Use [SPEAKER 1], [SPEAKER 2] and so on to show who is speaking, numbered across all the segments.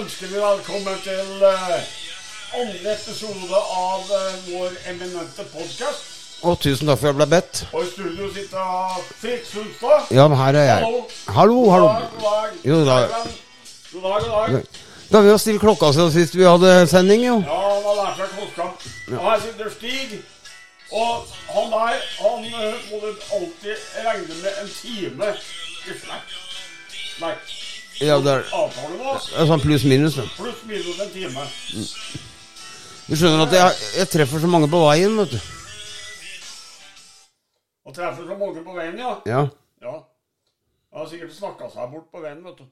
[SPEAKER 1] ønsker vi velkommen til eh, andre episode av eh, vår eminente podkast.
[SPEAKER 2] Og tusen takk for at jeg ble bedt.
[SPEAKER 1] Og i studio sitter Fritz Sundstad.
[SPEAKER 2] Ja, men her er jeg. Hallo, hallo.
[SPEAKER 1] God dag,
[SPEAKER 2] Jo,
[SPEAKER 1] god dag.
[SPEAKER 2] da-
[SPEAKER 1] God dag, god dag.
[SPEAKER 2] Da har vi jo stilt klokka siden sist vi hadde sending, jo.
[SPEAKER 1] Ja, han har lært seg klokskap. Og her sitter Stig. Og han der, han eh, må du alltid regne med en time i snakk. Nei,
[SPEAKER 2] Ja, det er,
[SPEAKER 1] avtale med oss.
[SPEAKER 2] det er sånn pluss-minus. det.
[SPEAKER 1] Pluss minus en time.
[SPEAKER 2] Du skjønner at jeg, jeg treffer så mange på veien, vet du.
[SPEAKER 1] Og treffer så mange på veien, ja.
[SPEAKER 2] Ja.
[SPEAKER 1] Ja. Han har sikkert snakka seg bort på veien, vet du.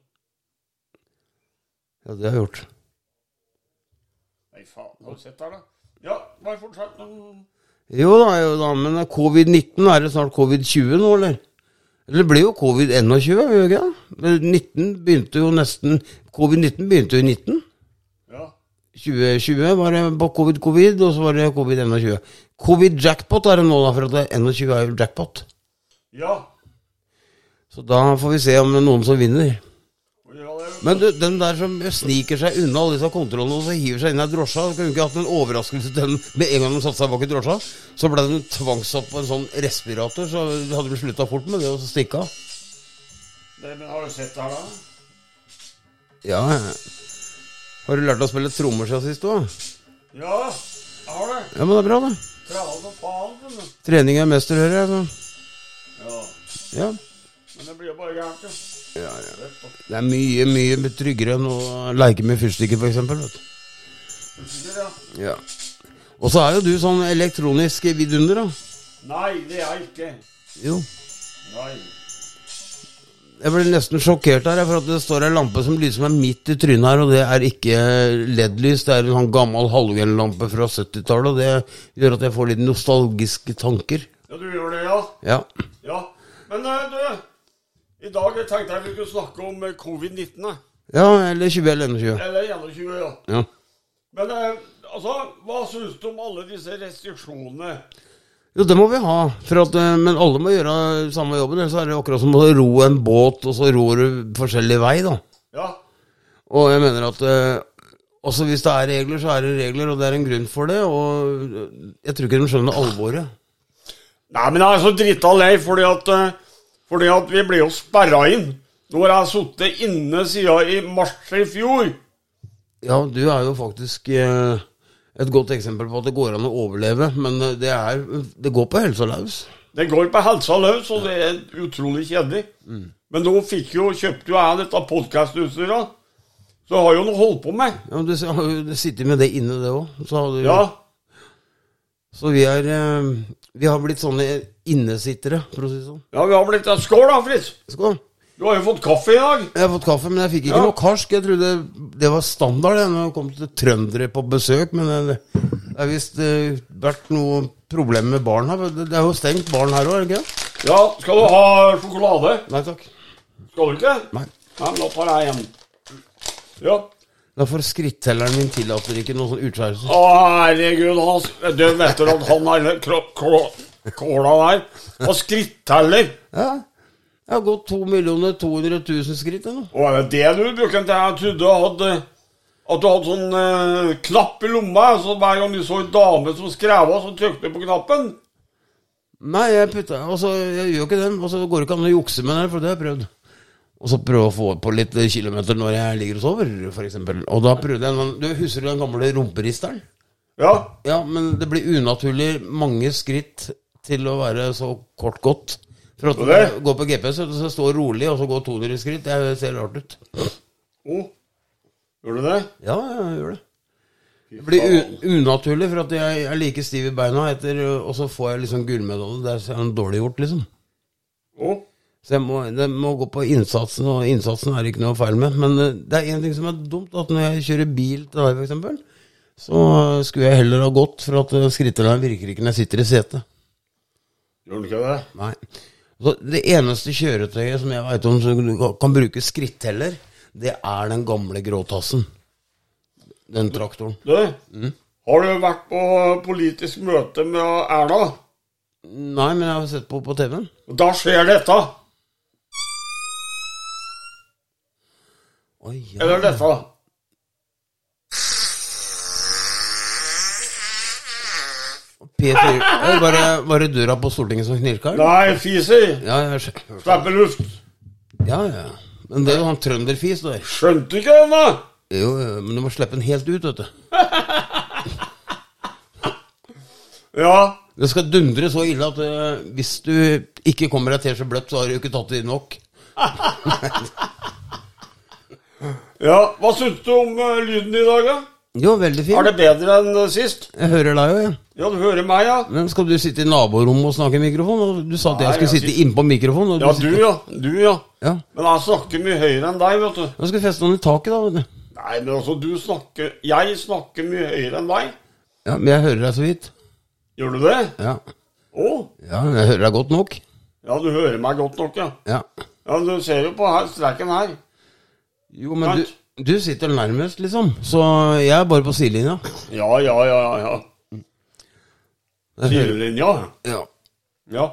[SPEAKER 2] ja, det har jeg gjort.
[SPEAKER 1] Nei, faen. Har du sett her, da? Ja, bare fortsett. men-
[SPEAKER 2] Jo da, jo da, men covid-19, er det snart covid-20 nå, eller? Eller det blir jo covid-21, gjør det ikke det? Men 19 begynte jo nesten Covid-19 begynte jo i 19.
[SPEAKER 1] Ja.
[SPEAKER 2] 2020 var det på covid-covid, og så var det covid-21. Covid-jackpot er det nå, da, for at det 21 er jo jackpot.
[SPEAKER 1] Ja.
[SPEAKER 2] Så da får vi se om det er noen som vinner.
[SPEAKER 1] Og ja, det-
[SPEAKER 2] Men du, den der som sniker seg unna alle disse kontrollene og så hiver seg inn i drosja Skulle hun ikke hatt en overraskelse til den med en gang de satte seg bak i drosja? Så ble den tvangsatt på en sånn respirator, så hadde de slutta fort med det og så stikka.
[SPEAKER 1] det, men har du sett det her, da?
[SPEAKER 2] Ja, ja. Har du lært deg å spille trommer siden sist òg?
[SPEAKER 1] Ja, jeg har det.
[SPEAKER 2] Ja, men det er bra, det.
[SPEAKER 1] Tralla som faen. vet du.
[SPEAKER 2] Trening er mester, hører jeg. Så.
[SPEAKER 1] Ja.
[SPEAKER 2] Ja.
[SPEAKER 1] Men det blir jo bare gærent, jo.
[SPEAKER 2] Ja, ja. Det er mye, mye tryggere enn å leke med fyrstikker, for eksempel, vet du.
[SPEAKER 1] Usikker, ja.
[SPEAKER 2] Ja. Og så er jo du sånn elektronisk vidunder, da.
[SPEAKER 1] Nei, det er jeg ikke.
[SPEAKER 2] Jo.
[SPEAKER 1] Nei.
[SPEAKER 2] Jeg ble nesten sjokkert her, for at det står ei lampe som lyser meg midt i trynet her, og det er ikke LED-lys, det er en sånn gammel halogenlampe fra 70-tallet, og det gjør at jeg får litt nostalgiske tanker.
[SPEAKER 1] Ja, du gjør det, ja?
[SPEAKER 2] Ja.
[SPEAKER 1] Ja. Men eh, du, i dag tenkte jeg vi kunne snakke om eh, covid-19. eh.
[SPEAKER 2] Ja, eller 20 eller 21.
[SPEAKER 1] Eller 21, ja.
[SPEAKER 2] Ja.
[SPEAKER 1] Men eh, altså, hva syns du om alle disse restriksjonene?
[SPEAKER 2] Jo, det må vi ha, for at, eh, men alle må gjøre samme jobben, ellers er det akkurat som å ro en båt, og så ror du forskjellig vei, da.
[SPEAKER 1] Ja,
[SPEAKER 2] Og jeg mener at eh, også hvis det er regler, så er det regler, og det er en grunn for det, og jeg tror ikke de skjønner alvoret.
[SPEAKER 1] Nei, men jeg er så drita lei fordi at, eh, fordi at vi ble jo sperra inn. Nå har jeg sittet inne siden i mars i fjor.
[SPEAKER 2] Ja, du er jo faktisk eh, et godt eksempel på at det går an å overleve, men eh, det, er, det går på helsa løs.
[SPEAKER 1] Det går på helsa løs, og det er utrolig kjedelig. Men nå fikk jo, kjøpte jo jeg dette podkastutstyret, så jeg har jo noe holdt på med.
[SPEAKER 2] Ja, men du s- har jo sittet med det inne, det òg. Så, har du-
[SPEAKER 1] Ja,
[SPEAKER 2] så vi er eh, Vi har blitt sånne innesittere, for å si det sånn.
[SPEAKER 1] ja vi har blitt ja, Skål, da, Fritz!
[SPEAKER 2] Skål.
[SPEAKER 1] Du har jo fått kaffe i dag.
[SPEAKER 2] Jeg har fått kaffe, men jeg fikk ikke
[SPEAKER 1] Ja.
[SPEAKER 2] noe karsk. Jeg trodde det var standard det, når det kom til trøndere på besøk, men det det er visst eh, vært noe problem med baren her. Det det er jo stengt barn her òg, er det ikke det?
[SPEAKER 1] Ja, skal du ha sjokolade?
[SPEAKER 2] Nei takk.
[SPEAKER 1] Skal du ikke?
[SPEAKER 2] Nei.
[SPEAKER 1] Nei, men da tar jeg en. Ja.
[SPEAKER 2] Derfor skrittelleren min tillater ikke noe sånn utskeielse.
[SPEAKER 1] Å, herregud, han Du vet du at han er kro- kro- kåla der? Og skritteller.
[SPEAKER 2] Ja. Jeg har gått 2 millioner 200 000 skritt ennå.
[SPEAKER 1] Å, er det det du bruker den til? Jeg trodde du hadde at du hadde sånn eh, klapp i lomma, så hver gang du så en dame som skreva, så trykte du på knappen.
[SPEAKER 2] Nei, jeg putta Altså, jeg gjør ikke Altså, det. Og så går det ikke an å jukse med det, for det har jeg prøvd. Og så prøve å få på litt kilometer når jeg ligger og sover, f.eks. Og da prøvde jeg den Du husker den gamle rumperisteren?
[SPEAKER 1] Ja.
[SPEAKER 2] Ja, men det blir unaturlig mange skritt til å være så kort gått. For at
[SPEAKER 1] Og
[SPEAKER 2] det
[SPEAKER 1] det?
[SPEAKER 2] går på GPS, og så står rolig, og så går 200 skritt. Det ser rart ut.
[SPEAKER 1] Å, gjør du det?
[SPEAKER 2] Ja, jeg gjør det. Det blir u unaturlig, for at jeg er like stiv i beina, etter, og så får jeg liksom gullmedalje. Det er sånn dårlig gjort, liksom.
[SPEAKER 1] Å,
[SPEAKER 2] Så jeg må, det må gå på innsatsen, og innsatsen er det ikke noe feil med. Men eh, det er én ting som er dumt, at når jeg kjører bil til deg, f.eks., så eh, skulle jeg heller ha gått, for at eh, skrittelen virker ikke når jeg sitter i setet.
[SPEAKER 1] gjør du ikke det?
[SPEAKER 2] Nei. Så det eneste kjøretøyet som jeg veit om som du kan bruke skritteller, det er den gamle gråtassen. Den traktoren.
[SPEAKER 1] Du,
[SPEAKER 2] Mm.
[SPEAKER 1] har du vært på politisk møte med Erna?
[SPEAKER 2] Nei, men jeg har sett på på TV-en.
[SPEAKER 1] Og Da skjer dette.
[SPEAKER 2] Oi, ja.
[SPEAKER 1] Eller dette.
[SPEAKER 2] P4 Eh, var, det, var det døra på Stortinget som knirka? eller?
[SPEAKER 1] Nei, fiser.
[SPEAKER 2] Ja, jeg skjø-
[SPEAKER 1] Slipper luft.
[SPEAKER 2] ja, ja. Men det er jo han trønderfis der.
[SPEAKER 1] Skjønte ikke den, da?
[SPEAKER 2] Jo, jo, men du må slippe den helt ut, vet du.
[SPEAKER 1] Ja.
[SPEAKER 2] Det skal dundre så ille at eh, hvis du ikke kommer deg til så bløtt, så har du ikke tatt i nok.
[SPEAKER 1] ja. Hva syns du om eh, lyden i dag, da?
[SPEAKER 2] Jo, veldig
[SPEAKER 1] Er
[SPEAKER 2] fint.
[SPEAKER 1] det bedre enn eh, sist?
[SPEAKER 2] Jeg hører deg jo, jeg.
[SPEAKER 1] Ja, du hører meg, ja?
[SPEAKER 2] Men skal du sitte i naborommet og snakke i mikrofon? Og Du sa at jeg
[SPEAKER 1] Nei,
[SPEAKER 2] skulle
[SPEAKER 1] jeg
[SPEAKER 2] sitte innpå mikrofonen. Og
[SPEAKER 1] Ja, du,
[SPEAKER 2] sitter-
[SPEAKER 1] ja. Du, ja.
[SPEAKER 2] Ja.
[SPEAKER 1] Men jeg snakker mye høyere enn deg, vet du.
[SPEAKER 2] Da skal vi feste den i taket, da. vet du.
[SPEAKER 1] Nei, men altså, du snakker Jeg snakker mye høyere enn deg.
[SPEAKER 2] Ja, Men jeg hører deg så vidt.
[SPEAKER 1] Gjør du det?
[SPEAKER 2] Ja.
[SPEAKER 1] Å?
[SPEAKER 2] ja, jeg hører deg godt nok.
[SPEAKER 1] Ja, du hører meg godt nok, ja.
[SPEAKER 2] Ja.
[SPEAKER 1] Ja, men Du ser jo på her, streken her.
[SPEAKER 2] Jo, men du,
[SPEAKER 1] Takk.
[SPEAKER 2] du sitter nærmest, liksom. Så jeg er bare på sidelinja.
[SPEAKER 1] Ja, ja, ja. ja.
[SPEAKER 2] Jeg hører-
[SPEAKER 1] Sidelinja.
[SPEAKER 2] Ja.
[SPEAKER 1] Ja.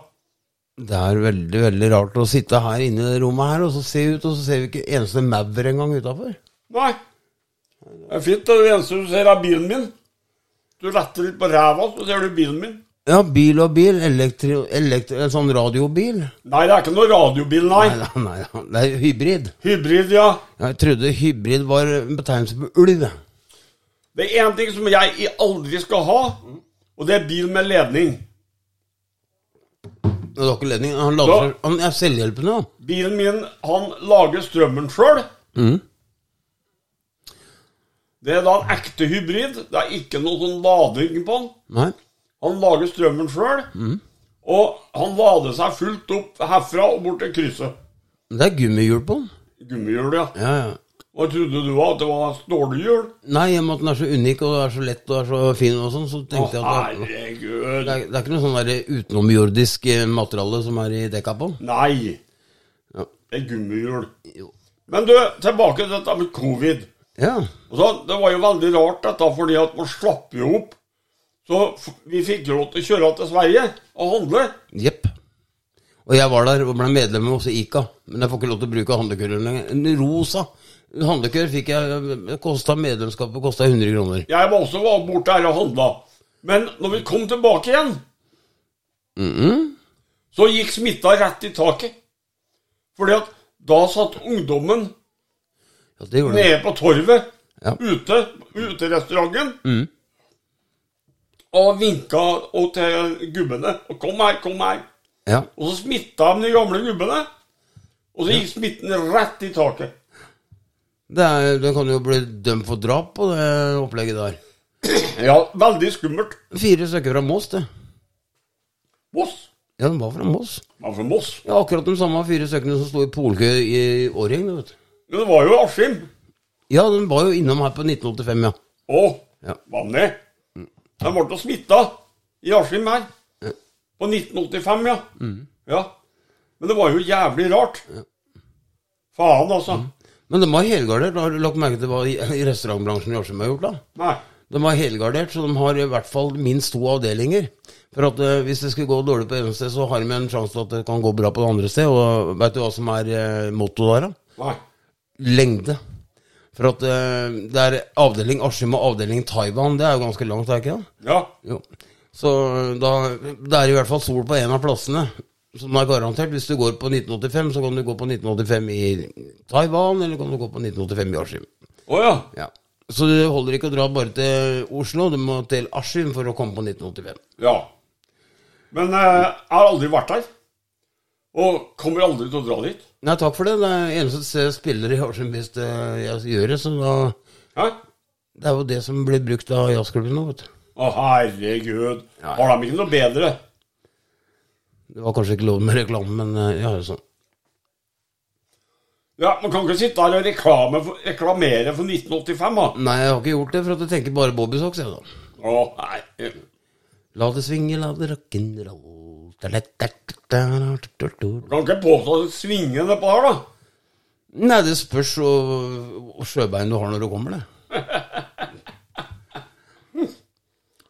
[SPEAKER 2] Det er veldig veldig rart å sitte her inne i det rommet her, og så se ut, og så ser vi ikke eneste maur engang utafor.
[SPEAKER 1] Nei. Det er fint. Det eneste du ser, er bilen min. Du letter litt på ræva, så ser du bilen min.
[SPEAKER 2] Ja, bil og bil. Elektri, elektri, en sånn radiobil.
[SPEAKER 1] Nei, det er ikke noe radiobil, nei.
[SPEAKER 2] Nei, nei, nei, nei, det er hybrid.
[SPEAKER 1] Hybrid, ja.
[SPEAKER 2] Jeg trodde hybrid var en betegnelse på ulv. jeg.
[SPEAKER 1] Det er én ting som jeg i- aldri skal ha, og det er bil med ledning.
[SPEAKER 2] Det var ikke ledning. Han, lader,
[SPEAKER 1] Ja.
[SPEAKER 2] seg- han er selvhjelpende, han.
[SPEAKER 1] Bilen min, han lager strømmen sjøl.
[SPEAKER 2] Mhm.
[SPEAKER 1] Det er da en ekte hybrid. Det er ikke noe sånn lading på den.
[SPEAKER 2] Nei.
[SPEAKER 1] Han lager strømmen sjøl, og han lader seg fullt opp herfra og bort til krysset.
[SPEAKER 2] Men Det er gummihjul på den.
[SPEAKER 1] Gummihjul, ja.
[SPEAKER 2] Ja, ja.
[SPEAKER 1] Hva trodde du at det var stålhjul?
[SPEAKER 2] Nei, i og med at den er så unik, og er så lett og er så fin, og sånn, så tenkte jeg at det,
[SPEAKER 1] Herregud.
[SPEAKER 2] det, er, det er ikke noe sånn der utenomjordisk eh, materiale som er i dekka på den.
[SPEAKER 1] Nei.
[SPEAKER 2] Ja.
[SPEAKER 1] Det er gummihjul.
[SPEAKER 2] Jo.
[SPEAKER 1] Men du, tilbake til dette med covid.
[SPEAKER 2] Ja.
[SPEAKER 1] Og så, det var jo veldig rart dette, fordi at man slapp jo opp. Så f- vi fikk jo lov til å kjøre til Sverige og handle.
[SPEAKER 2] Jepp. Og jeg var der og ble medlem hos ICA, men jeg får ikke lov til å bruke handlekurven lenger. En rosa handlekurv fikk jeg kosta medlemskapet kosta 100 kroner.
[SPEAKER 1] Jeg var også var borte her og handla. Men når vi kom tilbake igjen,
[SPEAKER 2] Mm-hmm.
[SPEAKER 1] så gikk smitta rett i taket. Fordi at da satt ungdommen
[SPEAKER 2] Ja, det gjorde det.
[SPEAKER 1] nede på torvet,
[SPEAKER 2] Ja. Mm.
[SPEAKER 1] ute på uterestauranten, og vinka og til gubbene. Og 'Kom her, kom her'.
[SPEAKER 2] Ja.
[SPEAKER 1] Og så smitta de de gamle gubbene. Og så gikk smitten rett i taket.
[SPEAKER 2] Det, er, det kan jo bli dømt for drap på det opplegget der.
[SPEAKER 1] Ja, veldig skummelt.
[SPEAKER 2] Fire stykker fra Moss, det.
[SPEAKER 1] Moss.
[SPEAKER 2] Ja, de var fra Moss.
[SPEAKER 1] Man er fra Moss.
[SPEAKER 2] Ja, akkurat de samme fire stykkene som sto i polkø i Årgjeng, du vet.
[SPEAKER 1] Men det var jo Askim.
[SPEAKER 2] Ja, de var jo innom her på 1985, ja.
[SPEAKER 1] Å,
[SPEAKER 2] Ja.
[SPEAKER 1] vanlig. De ble jo smitta i Askim her. På 1985, ja.
[SPEAKER 2] Mm.
[SPEAKER 1] ja. Men det var jo jævlig rart. Faen, altså.
[SPEAKER 2] Mm. Men de var helgardert. Har du lagt merke til hva i, i restaurantbransjen i Årsheim har gjort, da?
[SPEAKER 1] Nei.
[SPEAKER 2] De har helgardert, så de har i hvert fall minst to avdelinger. For at eh, hvis det skulle gå dårlig på ene sted, så har de en sjanse til at det kan gå bra på det andre sted. Og veit du hva som er eh, motto der, da?
[SPEAKER 1] Nei.
[SPEAKER 2] Lengde. For at eh, det er avdeling Askim og avdeling Taiwan. Det er jo ganske langt, er det ikke det?
[SPEAKER 1] Ja.
[SPEAKER 2] Jo. Så eh, da Det er i hvert fall sol på en av plassene. Som er garantert. Hvis du går på 1985, så kan du gå på 1985 i Taiwan, eller kan du gå på 1985 i Askim.
[SPEAKER 1] Å ja.
[SPEAKER 2] Ja. Så det holder ikke å dra bare til Oslo, du må til Askim for å komme på 1985.
[SPEAKER 1] Ja. Men eh, jeg har aldri vært der. Og kommer aldri til å dra dit.
[SPEAKER 2] Nei, takk for det. Det er eneste stedet jeg spiller i Askim hvis det, eh, jeg gjør det. Så da,
[SPEAKER 1] Hæ?
[SPEAKER 2] det er jo det som blir brukt av jazzklubben nå, vet du.
[SPEAKER 1] Å, herregud.
[SPEAKER 2] Ja, ja.
[SPEAKER 1] Har de ikke noe bedre?
[SPEAKER 2] Det var kanskje ikke lov med reklame, men eh, ja, sånn.
[SPEAKER 1] Ja, Man kan ikke sitte her og reklame for, reklamere for 1985, da.
[SPEAKER 2] Nei, jeg har ikke gjort det, for at jeg tenker bare Bobbysocks, jeg, da.
[SPEAKER 1] Å, nei.
[SPEAKER 2] La det svinge, la det rock'n'roll Da-da-da-da-da-da-da-da.
[SPEAKER 1] Du kan ikke påstå at det svinger nedpå her, da.
[SPEAKER 2] Nei, det spørs hvor sjøbein du har når du kommer, det.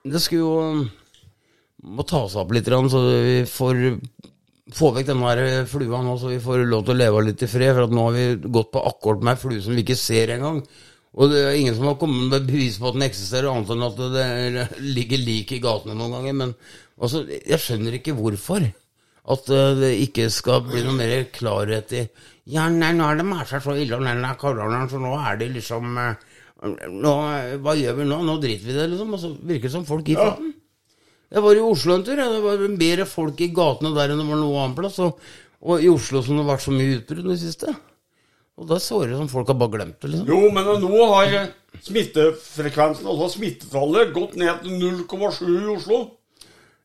[SPEAKER 2] Det skulle jo må ta seg opp litt, grann, så vi får få vekk den der flua nå, så vi får lov til å leve litt i fred. For at nå har vi gått på akkord med ei flue som vi ikke ser engang. Og det er ingen som har kommet med bevis på at den eksisterer, annet enn at det er- ligger lik i gatene noen ganger. Men altså, jeg skjønner ikke hvorfor. At eh, det ikke skal bli noe mer klarhet i Ja, nei, nå har det vært seg så ille, og nei, nei, koronaen, så nå er det liksom eh, nå, Hva gjør vi nå? Nå driter vi i det, liksom. Og så virker det som folk gir
[SPEAKER 1] Ja.
[SPEAKER 2] faen. Jeg var i Oslo en tur. ja, Det var mer folk i gatene der enn det var noe annet plass. Og, og i Oslo som det har vært så mye utbrudd i det siste. Og da så det som folk har bare glemt det, liksom.
[SPEAKER 1] Jo, men eh, nå har smittefrekvensen, altså smittetallet, gått ned til 0,7 i Oslo.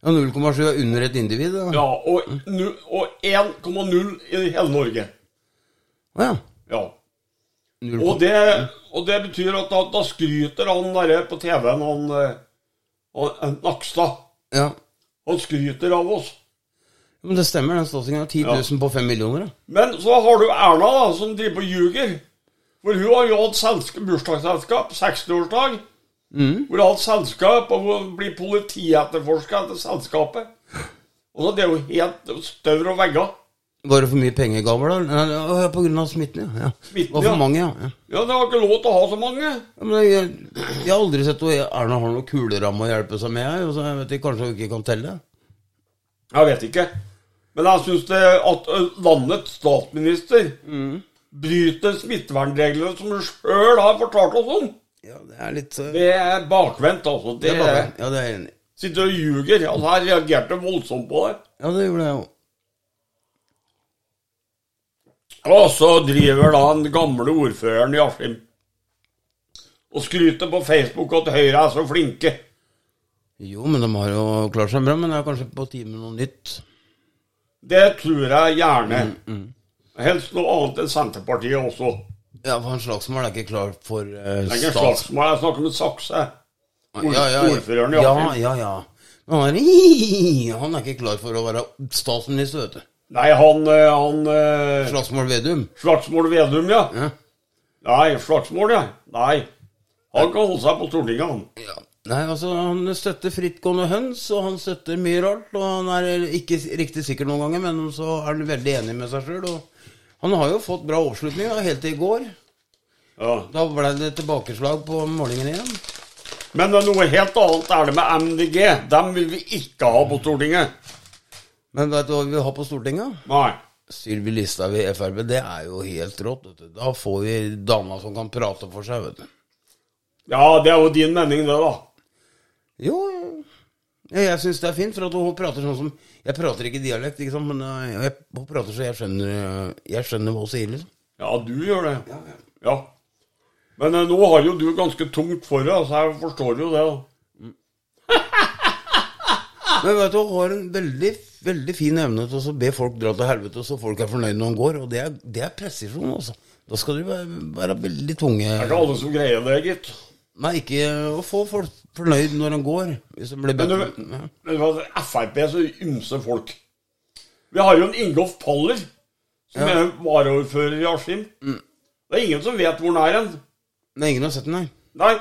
[SPEAKER 2] Ja, 0,7 er under et individ, da.
[SPEAKER 1] Ja, og, nu- og 1,0 i hele Norge.
[SPEAKER 2] Å ja.
[SPEAKER 1] Ja.
[SPEAKER 2] Null
[SPEAKER 1] Og det, og det betyr at da, da skryter han derre på TV-en, han, eh, han, han Nakstad.
[SPEAKER 2] kom- ja.
[SPEAKER 1] Han skryter av oss.
[SPEAKER 2] Men det stemmer, den statsingen er 10 000 på 5 millioner, da.
[SPEAKER 1] Men så har du Erna, da, som driver og ljuger. For hun har jo hatt selska- bursdagsselskap, 60-årsdag. Hvor hun har hatt selskap, og hun blir politietterforska etter selskapet. Og så Det er jo helt større og vegger.
[SPEAKER 2] Var det for mye pengegaver, da? Nei, det var på grunn av smitten, ja. ja.
[SPEAKER 1] Smitten,
[SPEAKER 2] det var for
[SPEAKER 1] ja.
[SPEAKER 2] mange, ja. ja.
[SPEAKER 1] Ja, det var ikke lov til å ha så mange.
[SPEAKER 2] ja men jeg, jeg har aldri sett at Erna har noen kuleramme å hjelpe seg med, jeg. og Så jeg vet ikke, kanskje hun ikke kan telle.
[SPEAKER 1] Jeg vet ikke. Men jeg syns at ø, landets statsminister bryter smittevernreglene som hun sjøl har fortalt oss om.
[SPEAKER 2] Ja, det er litt eh,
[SPEAKER 1] Det er bakvendt, altså. Det,
[SPEAKER 2] det er bare, Ja, det er jeg enig i.
[SPEAKER 1] Sitter og ljuger. Altså, jeg reagerte voldsomt på det.
[SPEAKER 2] Ja, det gjorde jeg òg.
[SPEAKER 1] Og så driver da den gamle ordføreren i Askim og skryter på Facebook at Høyre er så flinke.
[SPEAKER 2] Jo, men de har jo klart seg bra, men det er kanskje på tide med noe nytt.
[SPEAKER 1] Det tror jeg gjerne. Helst noe annet enn Senterpartiet også.
[SPEAKER 2] Ja, for han Slagsvold er ikke klar for eh,
[SPEAKER 1] Det er ikke en
[SPEAKER 2] stats...
[SPEAKER 1] slagsmål, jeg snakker om en sakse. Ord-
[SPEAKER 2] ja, ja,
[SPEAKER 1] Ordføreren i
[SPEAKER 2] ja,
[SPEAKER 1] Askim.
[SPEAKER 2] ja, ja. Men han er, han er ikke klar for å være statsminister, vet du.
[SPEAKER 1] Nei, han, eh, han eh,
[SPEAKER 2] Slagsmål Vedum.
[SPEAKER 1] Slagsmål Vedum, ja.
[SPEAKER 2] Ja.
[SPEAKER 1] Nei, Slagsmål, ja. Nei. Han kan holde seg på Stortinget, han.
[SPEAKER 2] Ja. Nei, altså, han støtter frittgående høns, og han støtter mye rart. Og han er ikke riktig sikker noen ganger, men så er han veldig enig med seg sjøl. Han har jo fått bra oppslutning da, helt til i går.
[SPEAKER 1] Ja.
[SPEAKER 2] Da ble det tilbakeslag på målingen igjen.
[SPEAKER 1] Men det er noe helt annet er det med MDG. Dem vil vi ikke ha på Stortinget.
[SPEAKER 2] Men vet du hva vi har på Stortinget?
[SPEAKER 1] Nei.
[SPEAKER 2] Sylvi Listhaug i Frp, det er jo helt rått. Vet du. Da får vi dama som kan prate for seg, vet du.
[SPEAKER 1] Ja, det er jo din mening, det, da.
[SPEAKER 2] Jo, jo. Ja, jeg syns det er fint, for at hun prater sånn som Jeg prater ikke dialekt, ikke sant, men eh, jeg, hun prater så jeg skjønner, eh, jeg skjønner hva hun sier, liksom.
[SPEAKER 1] Ja, du gjør det. Ja. Men eh, nå har jo du ganske tungt for deg, så jeg forstår jo det. da. Ah!
[SPEAKER 2] Men vet du, hun har en veldig veldig fin evne til å be folk dra til helvete, så folk er fornøyd når de går. Og det er, det er presisjon, altså. Da skal du være, være veldig tunge.
[SPEAKER 1] Det er ikke alle som greier det, gitt.
[SPEAKER 2] Nei, ikke å få folk fornøyd når de går. Hvis de blir
[SPEAKER 1] Men du,
[SPEAKER 2] bedt- Ja.
[SPEAKER 1] men hva, det er Frp er så ymse folk. Vi har jo en Ingolf Paller, som
[SPEAKER 2] Ja.
[SPEAKER 1] er varaordfører i Askim. Det er ingen som vet hvor han er hen.
[SPEAKER 2] Nei, ingen har sett den, nei.
[SPEAKER 1] Nei.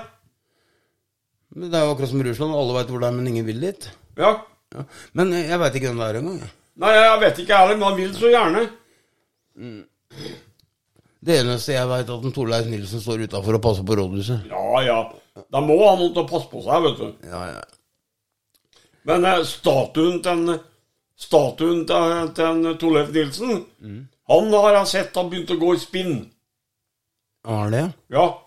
[SPEAKER 2] Men Det er jo akkurat som Russland. Alle veit hvor det er, men ingen vil dit.
[SPEAKER 1] Ja.
[SPEAKER 2] Ja. Men jeg veit ikke hvem det er engang. jeg.
[SPEAKER 1] Nei, jeg vet ikke heller, men han vil så gjerne.
[SPEAKER 2] Det eneste jeg veit, er at en Torleif Nilsen står utafor og passer på rådhuset.
[SPEAKER 1] Ja, ja. Da må han til å passe på seg, vet du.
[SPEAKER 2] Ja, ja.
[SPEAKER 1] Men eh, statuen til en Statuen til, til en Torleif Nilsen Han har jeg sett har begynt å gå i spinn.
[SPEAKER 2] Har det?
[SPEAKER 1] Ja.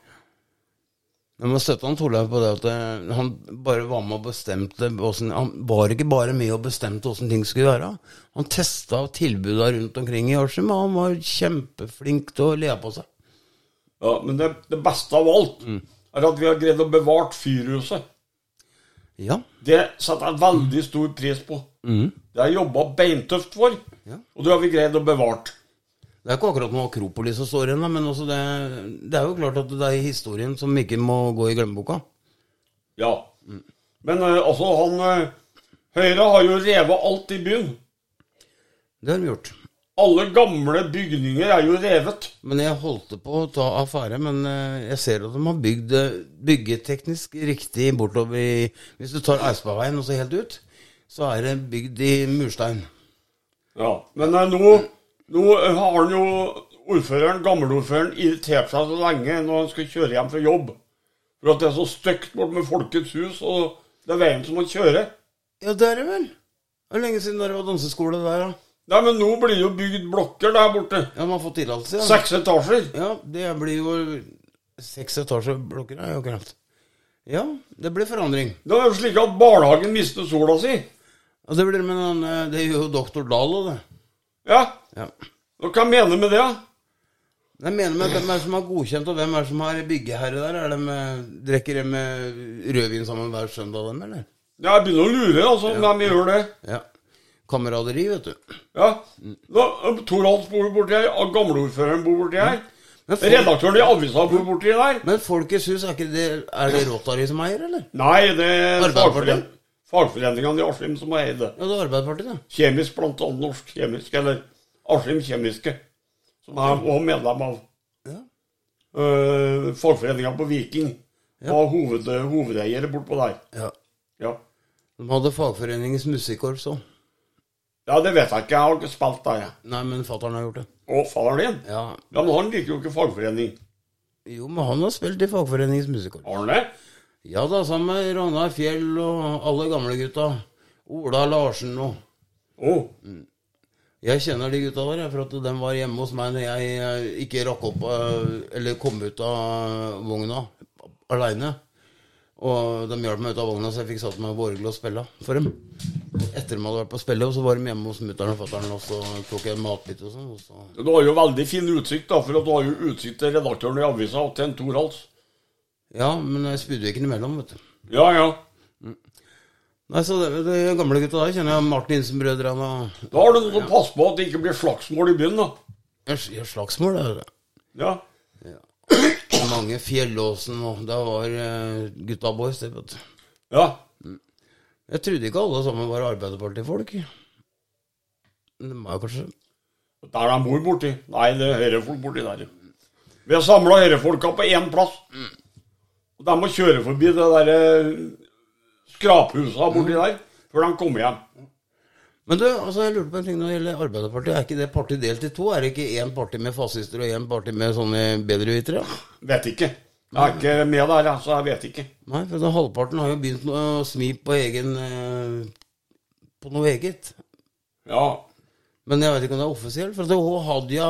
[SPEAKER 2] Jeg må støtte han Torleif på det at eh, han bare var med og bestemte hvordan, Han var ikke bare med og bestemte åssen ting skulle være. Han testa tilbuda rundt omkring i Askim, og han var kjempeflink til å le på seg.
[SPEAKER 1] ja men det, det beste av alt er at vi har greid å bevart fyrhuset.
[SPEAKER 2] Ja.
[SPEAKER 1] Det setter jeg veldig stor pris på. Det har jeg jobba beintøft for,
[SPEAKER 2] Ja.
[SPEAKER 1] og det har vi greid å bevart.
[SPEAKER 2] Det er ikke akkurat noe akropolis som står igjen, da, men også det, det er jo klart at det er historien som ikke må gå i glemmeboka.
[SPEAKER 1] Ja. Men eh, altså, han eh, Høyre har jo revet alt i byen.
[SPEAKER 2] Det har de gjort.
[SPEAKER 1] Alle gamle bygninger er jo revet.
[SPEAKER 2] Men jeg holdt på å ta affære, men eh, jeg ser at de har bygd eh, byggeteknisk riktig bortover i Hvis du tar Eidsbergveien og så helt ut, så er det bygd i murstein.
[SPEAKER 1] Ja. Men eh, nå, nå eh, har han jo ordføreren, gammelordføreren irriterte seg så lenge når han skulle kjøre hjem fra jobb. For at det er så stygt bort med Folkets hus, og det er veien som man kjører.
[SPEAKER 2] Ja, det er det vel. Det er lenge siden det var danseskole der, da.
[SPEAKER 1] Nei, men nå blir det jo bygd blokker der borte.
[SPEAKER 2] Ja, man har fått tillatelse, ja.
[SPEAKER 1] Seks etasjer.
[SPEAKER 2] ja. Det blir jo seks etasjeblokker, er jo greit. Ja, det blir forandring.
[SPEAKER 1] Det er jo slik at barnehagen mister sola si.
[SPEAKER 2] Og det blir med den, eh, det gjør jo doktor Dahl òg, det.
[SPEAKER 1] Ja,
[SPEAKER 2] Ja.
[SPEAKER 1] og hva mener du med det? da?
[SPEAKER 2] Jeg mener med hvem er det som har godkjent, og hvem er det som har byggeherre der? Er det med, drikker de med rødvin sammen hver søndag, dem, eller?
[SPEAKER 1] Ja, jeg begynner å lure, altså, om de gjør det.
[SPEAKER 2] Ja. Kameraderi, vet du.
[SPEAKER 1] Ja, da, Toralf bor borti her, og gamleordføreren bor borti her.
[SPEAKER 2] Men, folk,
[SPEAKER 1] Redaktøren i avisa bor borti der.
[SPEAKER 2] men Folkets hus, er, ikke det, er det Rotary som eier, eller?
[SPEAKER 1] Nei, det er
[SPEAKER 2] Arbeiderpartiet?
[SPEAKER 1] fagforen- fagforeningene i Askim som eier det.
[SPEAKER 2] Ja, det er Arbeiderpartiet, det.
[SPEAKER 1] Kjemisk, blant annet Norsk Kjemisk, eller Askim Kjemiske, som jeg var medlem av.
[SPEAKER 2] Ja.
[SPEAKER 1] Uh, fagforeninga på Viking var hoved, hovedeier bortpå der.
[SPEAKER 2] Ja.
[SPEAKER 1] Ja.
[SPEAKER 2] De hadde fagforeningens musikkorps òg.
[SPEAKER 1] ja, det vet jeg ikke. Jeg har ikke spilt der, jeg.
[SPEAKER 2] Nei, men fatter'n har gjort det.
[SPEAKER 1] Og faren din?
[SPEAKER 2] Ja.
[SPEAKER 1] Ja, men han liker jo ikke fagforening.
[SPEAKER 2] Jo, men han har spilt i fagforeningens musikkorps.
[SPEAKER 1] Har han det?
[SPEAKER 2] Ja da, sammen med Ragnar Fjell og alle gamle gutta. Ola Larsen og
[SPEAKER 1] Å.
[SPEAKER 2] Jeg kjenner de gutta der, jeg, for at de var hjemme hos meg når jeg eh, ikke rakk opp eh, eller kom ut av vogna aleine. Og de hjalp meg ut av vogna, så jeg fikk satt meg i Borgel og spilla for dem. Etter de hadde vært på spillet, og så var de hjemme hos mutter'n og fatter'n, og så tok jeg en matbit og sånn. Og så
[SPEAKER 1] Du har jo veldig fin utsikt, da, for at du har jo utsikt til redaktøren i avisa og til en Torhals.
[SPEAKER 2] Ja, men jeg spydde ikke innimellom, vet du.
[SPEAKER 1] Ja, ja.
[SPEAKER 2] Nei, så det, det gamle gutta der kjenner jeg. Martinsen-brødrene og
[SPEAKER 1] Da har du noe som passer på at det ikke blir slagsmål i byen, da.
[SPEAKER 2] Ja, slagsmål, det er det.
[SPEAKER 1] Ja.
[SPEAKER 2] Mange Fjellåsen og Det var eh, gutta boys, det, vet du.
[SPEAKER 1] Ja.
[SPEAKER 2] Jeg trodde ikke alle sammen var Arbeiderpartifolk. Men De er kanskje
[SPEAKER 1] Der de bor borti. Nei, det er høyrefolk borti der. Vi har samla høyrefolka på én plass. Og de må kjøre forbi det derre skraphusa borti der før de kommer hjem.
[SPEAKER 2] Men du, altså, jeg lurte på en ting når det gjelder Arbeiderpartiet. Er ikke det partiet delt i to? Er det ikke én parti med fascister og én parti med sånne bedrevitere?
[SPEAKER 1] Vet ikke. Jeg er ikke med der, jeg, så jeg vet ikke.
[SPEAKER 2] Nei, for den halvparten har jo begynt å smi på egen eh, På noe eget.
[SPEAKER 1] Ja.
[SPEAKER 2] Men jeg vet ikke om det er offisielt, for at hun Hadia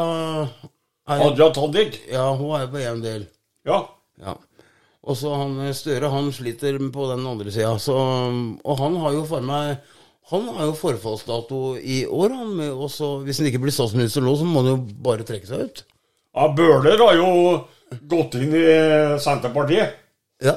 [SPEAKER 2] er,
[SPEAKER 1] Hadia Tajik.
[SPEAKER 2] Ja, hun er jo på én del.
[SPEAKER 1] Ja.
[SPEAKER 2] Ja. Og så han eh, Støre, han sliter på den andre sida. så, um, Og han har jo for meg Han har jo forfallsdato i år, han. med- Og så, hvis han ikke blir statsminister nå, så må han jo bare trekke seg ut.
[SPEAKER 1] ja Bøhler har jo gått inn i Senterpartiet.
[SPEAKER 2] Ja.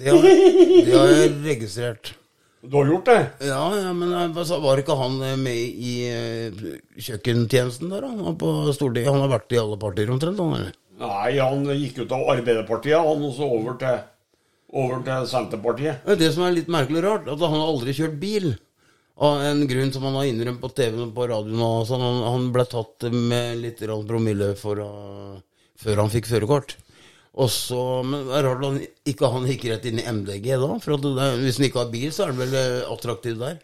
[SPEAKER 2] Det har, det har jeg registrert.
[SPEAKER 1] Du har gjort det?
[SPEAKER 2] Ja, ja, men jeg bare sa, var ikke han eh, med i eh, kjøkkentjenesten der, da? Han, var på Stortinget. han har vært i alle partier omtrent, han eller?
[SPEAKER 1] Nei, han gikk ut av Arbeiderpartiet, han og så over til, over til Senterpartiet.
[SPEAKER 2] Det er det som er litt merkelig og rart, at han har aldri kjørt bil. Av en grunn som han har innrømt på TV og på radioen. og sånn. han, han ble tatt med litt grann promille for, å- før han fikk førerkort. Og så- Men det er rart at han, ikke han gikk rett inn i MDG da. For at det, der- hvis han ikke har bil, så er han vel eh, attraktiv der.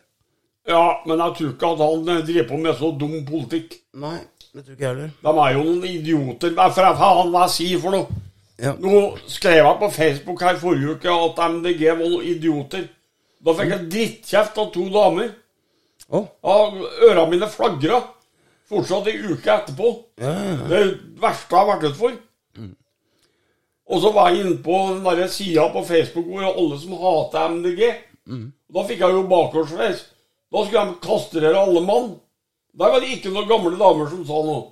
[SPEAKER 1] Ja, men jeg tror ikke at han eh, driver på med så dum politikk.
[SPEAKER 2] Nei, det tror ikke jeg heller.
[SPEAKER 1] De er jo noen idioter. Hva for faen hva jeg sier for noe?
[SPEAKER 2] Ja.
[SPEAKER 1] Nå skrev jeg på Facebook her forrige uke at MDG var noen idioter. Da fikk jeg drittkjeft av to damer.
[SPEAKER 2] Å,
[SPEAKER 1] Og Øra mine flagra fortsatt ei uke etterpå.
[SPEAKER 2] ja, ja, ja.
[SPEAKER 1] Det er det verste jeg har vært utfor. Og så var jeg inne på den der sida på Facebook hvor alle som hater MDG Da fikk jeg jo bakoversveis. Da skulle de kastrere alle mann. Der var det ikke noen gamle damer som sa noe.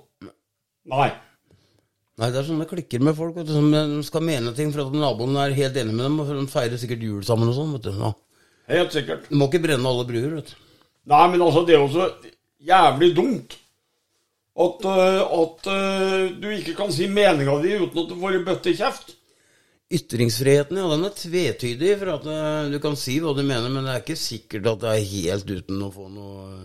[SPEAKER 1] Nei.
[SPEAKER 2] Nei, det er sånn det klikker med folk. Vet du, som de skal mene ting for at naboen er helt enig med dem. og De feirer sikkert jul sammen og sånn. vet du. Ja.
[SPEAKER 1] Helt sikkert.
[SPEAKER 2] Du må ikke brenne alle bruer, vet du.
[SPEAKER 1] Nei, men altså, det er jo så jævlig dumt at, eh, at eh, du ikke kan si meninga di uten at du får ei bøtte i kjeft.
[SPEAKER 2] Ytringsfriheten, ja, den er tvetydig. For at eh, du kan si hva du mener, men det er ikke sikkert at det er helt uten å få noe eh,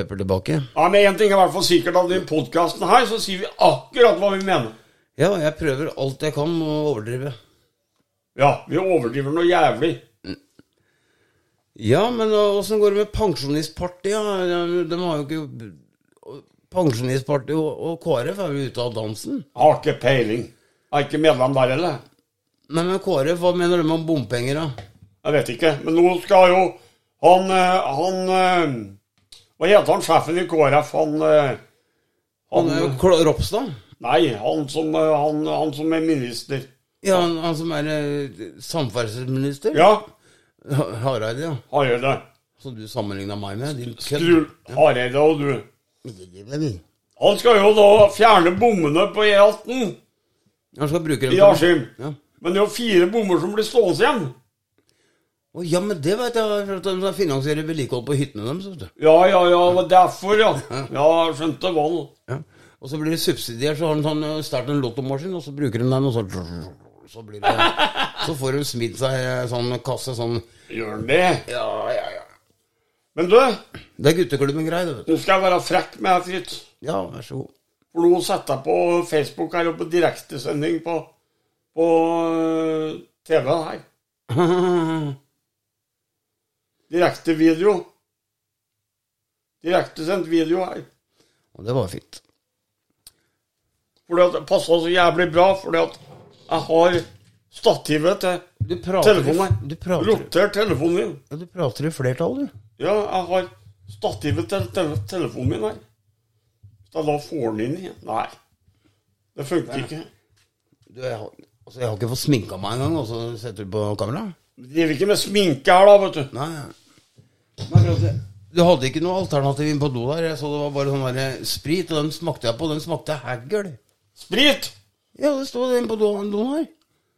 [SPEAKER 2] pepper tilbake.
[SPEAKER 1] Nei, men én ting er i hvert fall sikkert, at i podkasten her så sier vi akkurat hva vi mener.
[SPEAKER 2] Ja, jeg prøver alt jeg kan å overdrive.
[SPEAKER 1] Ja, vi overdriver noe jævlig.
[SPEAKER 2] eh, Ja, men åssen går det med Pensjonistpartiet? Ja, De har jo ikke Pensjonistpartiet og, og KrF er jo ute av dansen.
[SPEAKER 1] Har ikke peiling. Er ikke medlem der heller.
[SPEAKER 2] Nei, men KrF, hva mener de om bompenger, da?
[SPEAKER 1] Jeg vet ikke. Men nå skal jo han eh, Han eh, Hva heter han sjefen i KrF? Han, eh,
[SPEAKER 2] Han
[SPEAKER 1] han,
[SPEAKER 2] er jo Kla- Ropstad.
[SPEAKER 1] Nei, han som, eh, han, han som er minister.
[SPEAKER 2] Ja, han, han som er eh, samferdselsminister.
[SPEAKER 1] Ja,
[SPEAKER 2] Ha- Hareide, ja.
[SPEAKER 1] Hareide.
[SPEAKER 2] Som du sammenligna meg med. Din kødd.
[SPEAKER 1] Strul- Hareide og du.
[SPEAKER 2] Han
[SPEAKER 1] Han skal jo da fjerne bommene på E18
[SPEAKER 2] skal bruke dem
[SPEAKER 1] i
[SPEAKER 2] til
[SPEAKER 1] Askim.
[SPEAKER 2] ja.
[SPEAKER 1] Men det er jo fire bommer som blir stående igjen.
[SPEAKER 2] Å, ja, men det veit jeg. For at de skal finansiere vedlikehold på hyttene deres. vet du.
[SPEAKER 1] Ja, ja, ja, det var derfor, ja. Ja, jeg skjønte hva nå.
[SPEAKER 2] Ja. Og så blir det subsidiert, så har han sånn, eh, startet en lottomaskin, og så bruker hun den, og så, så blir det Så får hun smidd seg eh, sånn kasse sånn
[SPEAKER 1] Gjør han det?
[SPEAKER 2] Ja, ja, ja.
[SPEAKER 1] Men du,
[SPEAKER 2] Det er gutteklubben grei, det, vet du.
[SPEAKER 1] nå skal jeg være frekk med deg, Fritz.
[SPEAKER 2] Ja, vær så god.
[SPEAKER 1] For nå setter jeg på Facebook her og på direktesending på, på øh, TV her. Direkte video. Direktesendt video her.
[SPEAKER 2] Og det var fint.
[SPEAKER 1] Fordi at det passer så jævlig bra, fordi at jeg har stativet til
[SPEAKER 2] Du prater,
[SPEAKER 1] telefonen
[SPEAKER 2] du
[SPEAKER 1] her.
[SPEAKER 2] prater,
[SPEAKER 1] Rotert telefonen min.
[SPEAKER 2] ja, du prater i flertall, du.
[SPEAKER 1] Ja, jeg har stativet til tele telefonen min her. Hvis jeg da får den inn igjen Nei. Det funker ikke.
[SPEAKER 2] du jeg, har, altså, jeg har ikke fått sminka meg engang, og så setter du på kamera?
[SPEAKER 1] Vi driver ikke med sminke her, da, vet du.
[SPEAKER 2] Nei. altså, Du hadde ikke noe alternativ inn på do der? Jeg så det var bare sånn der sprit, og den smakte jeg på. Den smakte hagl.
[SPEAKER 1] Sprit!
[SPEAKER 2] Ja, det sto det inne på do- doen her.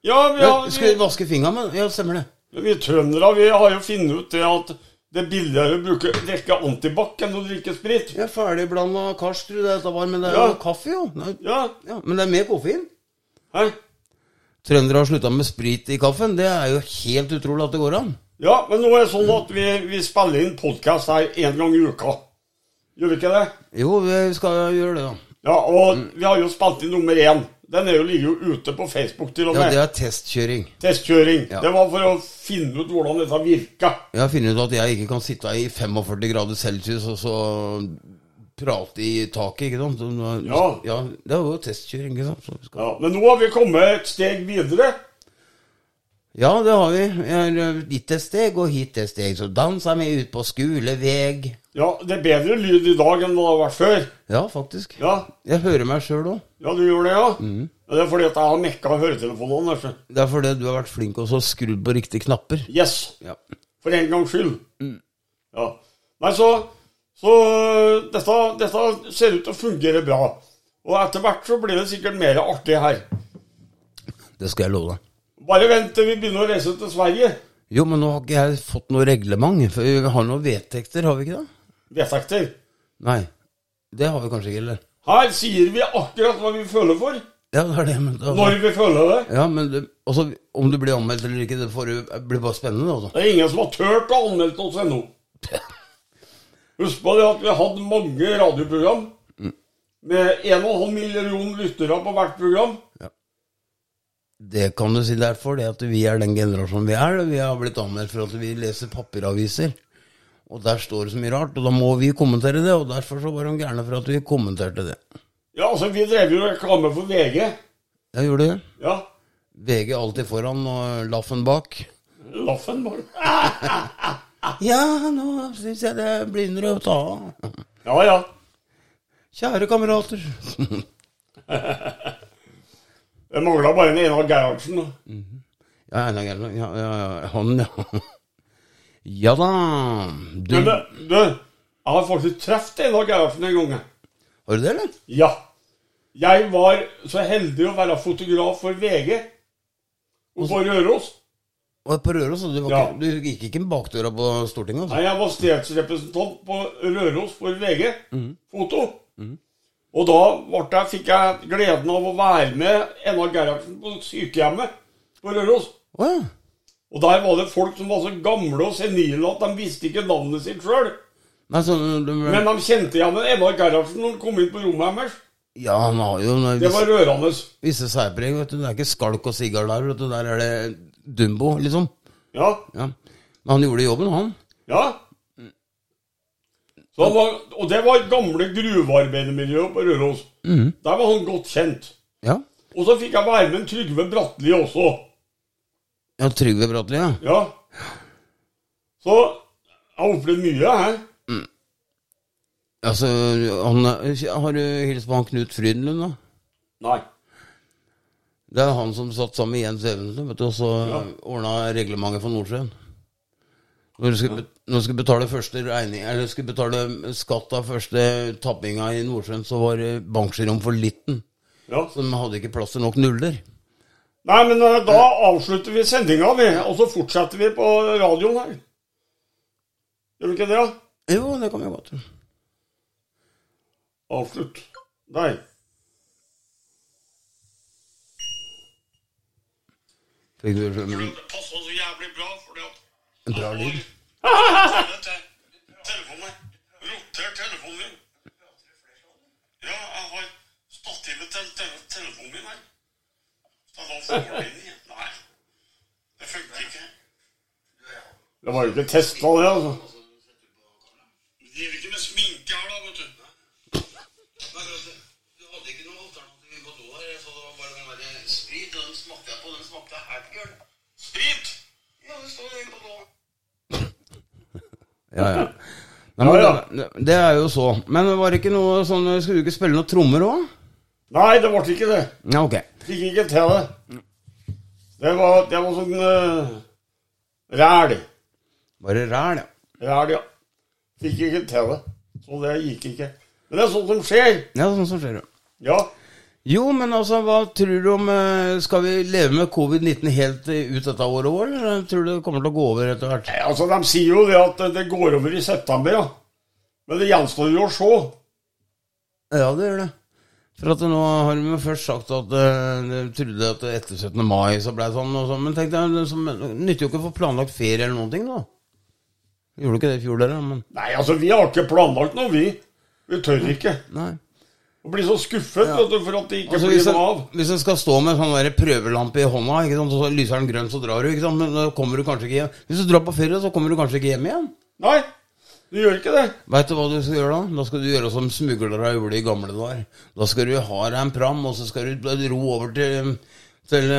[SPEAKER 1] Ja, vi,
[SPEAKER 2] Ja,
[SPEAKER 1] har,
[SPEAKER 2] skal vi
[SPEAKER 1] vi,
[SPEAKER 2] vaske fingra med Ja, stemmer det.
[SPEAKER 1] vi trøndere vi har jo funnet ut det at det er billigere å bruke, drikke antibac enn å drikke sprit.
[SPEAKER 2] Ja, Ferdigblanda Karstrud, dette var Men det er
[SPEAKER 1] Ja.
[SPEAKER 2] jo kaffe, jo. Nei,
[SPEAKER 1] Ja,
[SPEAKER 2] ja, men det er mer koffein.
[SPEAKER 1] hæ?
[SPEAKER 2] Trøndere har slutta med sprit i kaffen. Det er jo helt utrolig at det går an.
[SPEAKER 1] Ja, men nå er det sånn at vi, vi spiller inn podkast her én gang i uka. Gjør vi ikke det?
[SPEAKER 2] Jo, vi skal gjøre det, da.
[SPEAKER 1] Ja, og
[SPEAKER 2] Mm.
[SPEAKER 1] vi har jo spilt inn nummer én. Den er jo, ligger jo ute på Facebook til og
[SPEAKER 2] Ja,
[SPEAKER 1] med.
[SPEAKER 2] det er testkjøring.
[SPEAKER 1] Testkjøring.
[SPEAKER 2] Ja.
[SPEAKER 1] Det var for å finne ut hvordan dette virka.
[SPEAKER 2] Jeg har funnet ut at jeg ikke kan sitte i 45 grader celsius og så prate i taket, ikke sant? Så-
[SPEAKER 1] Ja.
[SPEAKER 2] ja det er jo testkjøring, ikke sant? Så vi skal...
[SPEAKER 1] Ja, men nå har vi kommet et steg videre.
[SPEAKER 2] Ja, det har vi. Jeg har Dit et steg og hit et steg, så dansa vi ut på skoleveg.
[SPEAKER 1] Ja, det er bedre lyd i dag enn det har vært før.
[SPEAKER 2] Ja, faktisk.
[SPEAKER 1] Ja,
[SPEAKER 2] Jeg hører meg sjøl òg.
[SPEAKER 1] ja du gjør det, ja? Ja, Det er fordi at jeg har mekka høretelefonene. altså.
[SPEAKER 2] Det er fordi du har vært flink og så skrudd på riktige knapper.
[SPEAKER 1] Yes,
[SPEAKER 2] Ja.
[SPEAKER 1] for en gangs skyld. Ja. Nei, så, så øh, dette, dette ser ut til å fungere bra. Og etter hvert så blir det sikkert mer artig her.
[SPEAKER 2] Det skal jeg love deg.
[SPEAKER 1] Bare vent til vi begynner å reise til Sverige.
[SPEAKER 2] Jo, men nå har ikke jeg fått noe reglement. For vi har noen vedtekter, har vi ikke det?
[SPEAKER 1] Vedtekter.
[SPEAKER 2] Nei. Det har vi kanskje ikke, eller?
[SPEAKER 1] Her sier vi akkurat hva vi føler for.
[SPEAKER 2] Ja, det er det, men da...
[SPEAKER 1] Når vi føler det.
[SPEAKER 2] Ja, men det, altså, om du blir anmeldt eller ikke, det får, du- blir bare spennende. Altså.
[SPEAKER 1] Det er ingen som har tørt å anmelde oss ennå. Husk på det at vi har hatt mange radioprogram med 1,5 million lyttere på hvert program.
[SPEAKER 2] Det kan du si derfor, det at vi er den generasjonen vi er. og Vi har blitt anmeldt for at vi leser papiraviser. Og der står det så mye rart, og da må vi kommentere det. Og derfor så var de gærne for at vi kommenterte det.
[SPEAKER 1] Ja, altså, vi drev jo reklame for VG.
[SPEAKER 2] Ja, gjorde det.
[SPEAKER 1] Ja.
[SPEAKER 2] VG alltid foran og laffen bak.
[SPEAKER 1] Laffen, bare.
[SPEAKER 2] Ja, nå syns jeg det begynner å ta av.
[SPEAKER 1] Ja, ja.
[SPEAKER 2] Kjære kamerater.
[SPEAKER 1] Det mangla bare en Einar Gerhardsen. da.
[SPEAKER 2] Ja, Einar Gerhardsen. Ja, ja, ja, han, ja. Ja da. Du,
[SPEAKER 1] Men det, du, jeg har faktisk truffet Einar Gerhardsen en gang. jeg.
[SPEAKER 2] har du det, eller?
[SPEAKER 1] Ja. Jeg var så heldig å være fotograf for VG og på Røros.
[SPEAKER 2] Og på Røros, så du, var
[SPEAKER 1] Ja.
[SPEAKER 2] ikke, du gikk ikke inn bakdøra på Stortinget? Altså.
[SPEAKER 1] Nei, jeg var stedsrepresentant på Røros for VG. Foto. Og da vart jeg, fikk jeg gleden av å være med Einar Gerhardsen på sykehjemmet på Røros.
[SPEAKER 2] Å ja.
[SPEAKER 1] Og der var det folk som var så gamle og senile at de visste ikke navnet sitt sjøl.
[SPEAKER 2] Nei, så, du,
[SPEAKER 1] Men de kjente igjen en Einar Gerhardsen når han kom inn på rommet deres.
[SPEAKER 2] ja, han har jo noe-
[SPEAKER 1] Det var rørende.
[SPEAKER 2] visse særpreg. vet du. Det er ikke skalk og sigar der, vet du. Der er det Dumbo, liksom.
[SPEAKER 1] Ja.
[SPEAKER 2] Ja. Men han gjorde jobben, han.
[SPEAKER 1] Ja. Så han var, og det var gamle gruvearbeidermiljøet på Røros. Der var han godt kjent.
[SPEAKER 2] Ja.
[SPEAKER 1] Og så fikk jeg være med en Trygve Bratteli også.
[SPEAKER 2] ja Trygve Bratteli, ja.
[SPEAKER 1] Ja. Så jeg har opplevd mye, jeg.
[SPEAKER 2] Altså, han, er- har du hilst på han Knut Frydenlund, da?
[SPEAKER 1] Nei.
[SPEAKER 2] Det er han som satt sammen med Jens Evensen, vet du, og så
[SPEAKER 1] Ja.
[SPEAKER 2] ordna reglementet for Nordsjøen. Når du skulle, bet- når du skulle betale første regning, eller skulle betale skatt av første tappinga i Nordsjøen, så var eh, bankgiroen for liten.
[SPEAKER 1] Ja.
[SPEAKER 2] Så de hadde ikke plass til nok nuller.
[SPEAKER 1] Nei, men eh, da avslutter vi sendinga, vi. Og så fortsetter vi på radioen her. Gjør vi ikke det? da?
[SPEAKER 2] Jo, det kan vi godt.
[SPEAKER 1] Avslutt. Nei.
[SPEAKER 2] Fikk du en
[SPEAKER 3] Det passer så jævlig bra, fordi at
[SPEAKER 2] bra lyd?
[SPEAKER 3] telefonen roter telefonen min. Ja, jeg har stativet til te- telefonen min her. Så da får den inn igjen. Nei, det funker ikke.
[SPEAKER 1] Det var jo ikke testa, det, altså.
[SPEAKER 3] Men Det gjelder ikke med sminke her, da, vet du.
[SPEAKER 4] Du hadde ikke noe alternativ på do her. Jeg så det var bare den der eh, sprit, og den smakte jeg på. Den smakte hertgøl.
[SPEAKER 3] Sprit!
[SPEAKER 4] Ja, det står inne på do.
[SPEAKER 2] Ja, ja. Nei, men,
[SPEAKER 1] Ja,
[SPEAKER 2] det, det er jo så. Men var det ikke noe sånn Skulle du ikke spille noen trommer òg?
[SPEAKER 1] Nei, det ble ikke det.
[SPEAKER 2] Ja, ok.
[SPEAKER 1] Fikk ikke til det. Det var, det var sånn uh, ræl.
[SPEAKER 2] Bare ræl, ja.
[SPEAKER 1] Ræl, ja. Fikk ikke til det. Så det gikk ikke. Men det er sånt som skjer.
[SPEAKER 2] Ja, sånn som skjer, ja.
[SPEAKER 1] Ja.
[SPEAKER 2] Jo, men altså, hva tror du om eh, Skal vi leve med covid-19 helt eh, ut dette året òg, eller tror du det kommer til å gå over etter hvert?
[SPEAKER 1] Nei, Altså, De sier jo det at det går over i september, ja. Men det gjenstår jo å se.
[SPEAKER 2] Ja, det gjør det. For at nå har de jo først sagt at eh, de trodde at etter 17. mai så ble det sånn og sånn, men tenk deg, det som- det nytter jo ikke å få planlagt ferie eller noen ting, da. Gjorde ikke det i fjor, dere, men
[SPEAKER 1] Nei, altså, vi har ikke planlagt noe, vi. Vi
[SPEAKER 2] Mm.
[SPEAKER 1] tør ikke.
[SPEAKER 2] nei.
[SPEAKER 1] Og blir så skuffet vet du, for at det ikke
[SPEAKER 2] Altså, hvis,
[SPEAKER 1] blir noe
[SPEAKER 2] jeg,
[SPEAKER 1] av.
[SPEAKER 2] hvis jeg skal stå med en sånn der prøvelampe i hånda, ikke sant, og så lyser den grønn, så drar du, ikke sant, men da kommer du kanskje ikke hjem. Hvis du drar på ferie, så kommer du kanskje ikke hjem igjen.
[SPEAKER 1] Nei, du gjør ikke det.
[SPEAKER 2] Veit du hva du skal gjøre da? Da skal du gjøre som smuglere gjorde i gamle dager. Da skal du ha deg en pram, og så skal du ro over til, til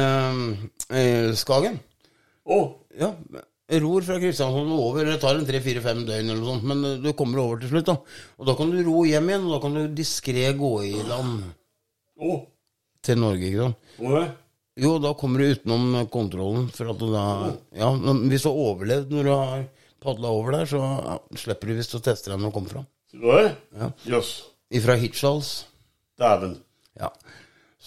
[SPEAKER 2] eh, eh, Skagen.
[SPEAKER 1] Å,
[SPEAKER 2] Ja, ror fra Kristiansand og over. Det tar en tre-fire-fem døgn eller noe sånt, men eh, du kommer over til slutt, da. Og da kan du ro hjem igjen, og da kan du diskré gå i land
[SPEAKER 1] å,
[SPEAKER 2] til Norge, ikke sant.
[SPEAKER 1] må det?
[SPEAKER 2] Jo, da kommer du utenom kontrollen, for at du da Ja, men hvis du har overlevd når du har padla over der, så ja, slipper du hvis du tester deg når du kommer fram.
[SPEAKER 1] Sier du det?
[SPEAKER 2] Ja.
[SPEAKER 1] Jøss.
[SPEAKER 2] Ifra Hirtshals.
[SPEAKER 1] Dæven.
[SPEAKER 2] Ja.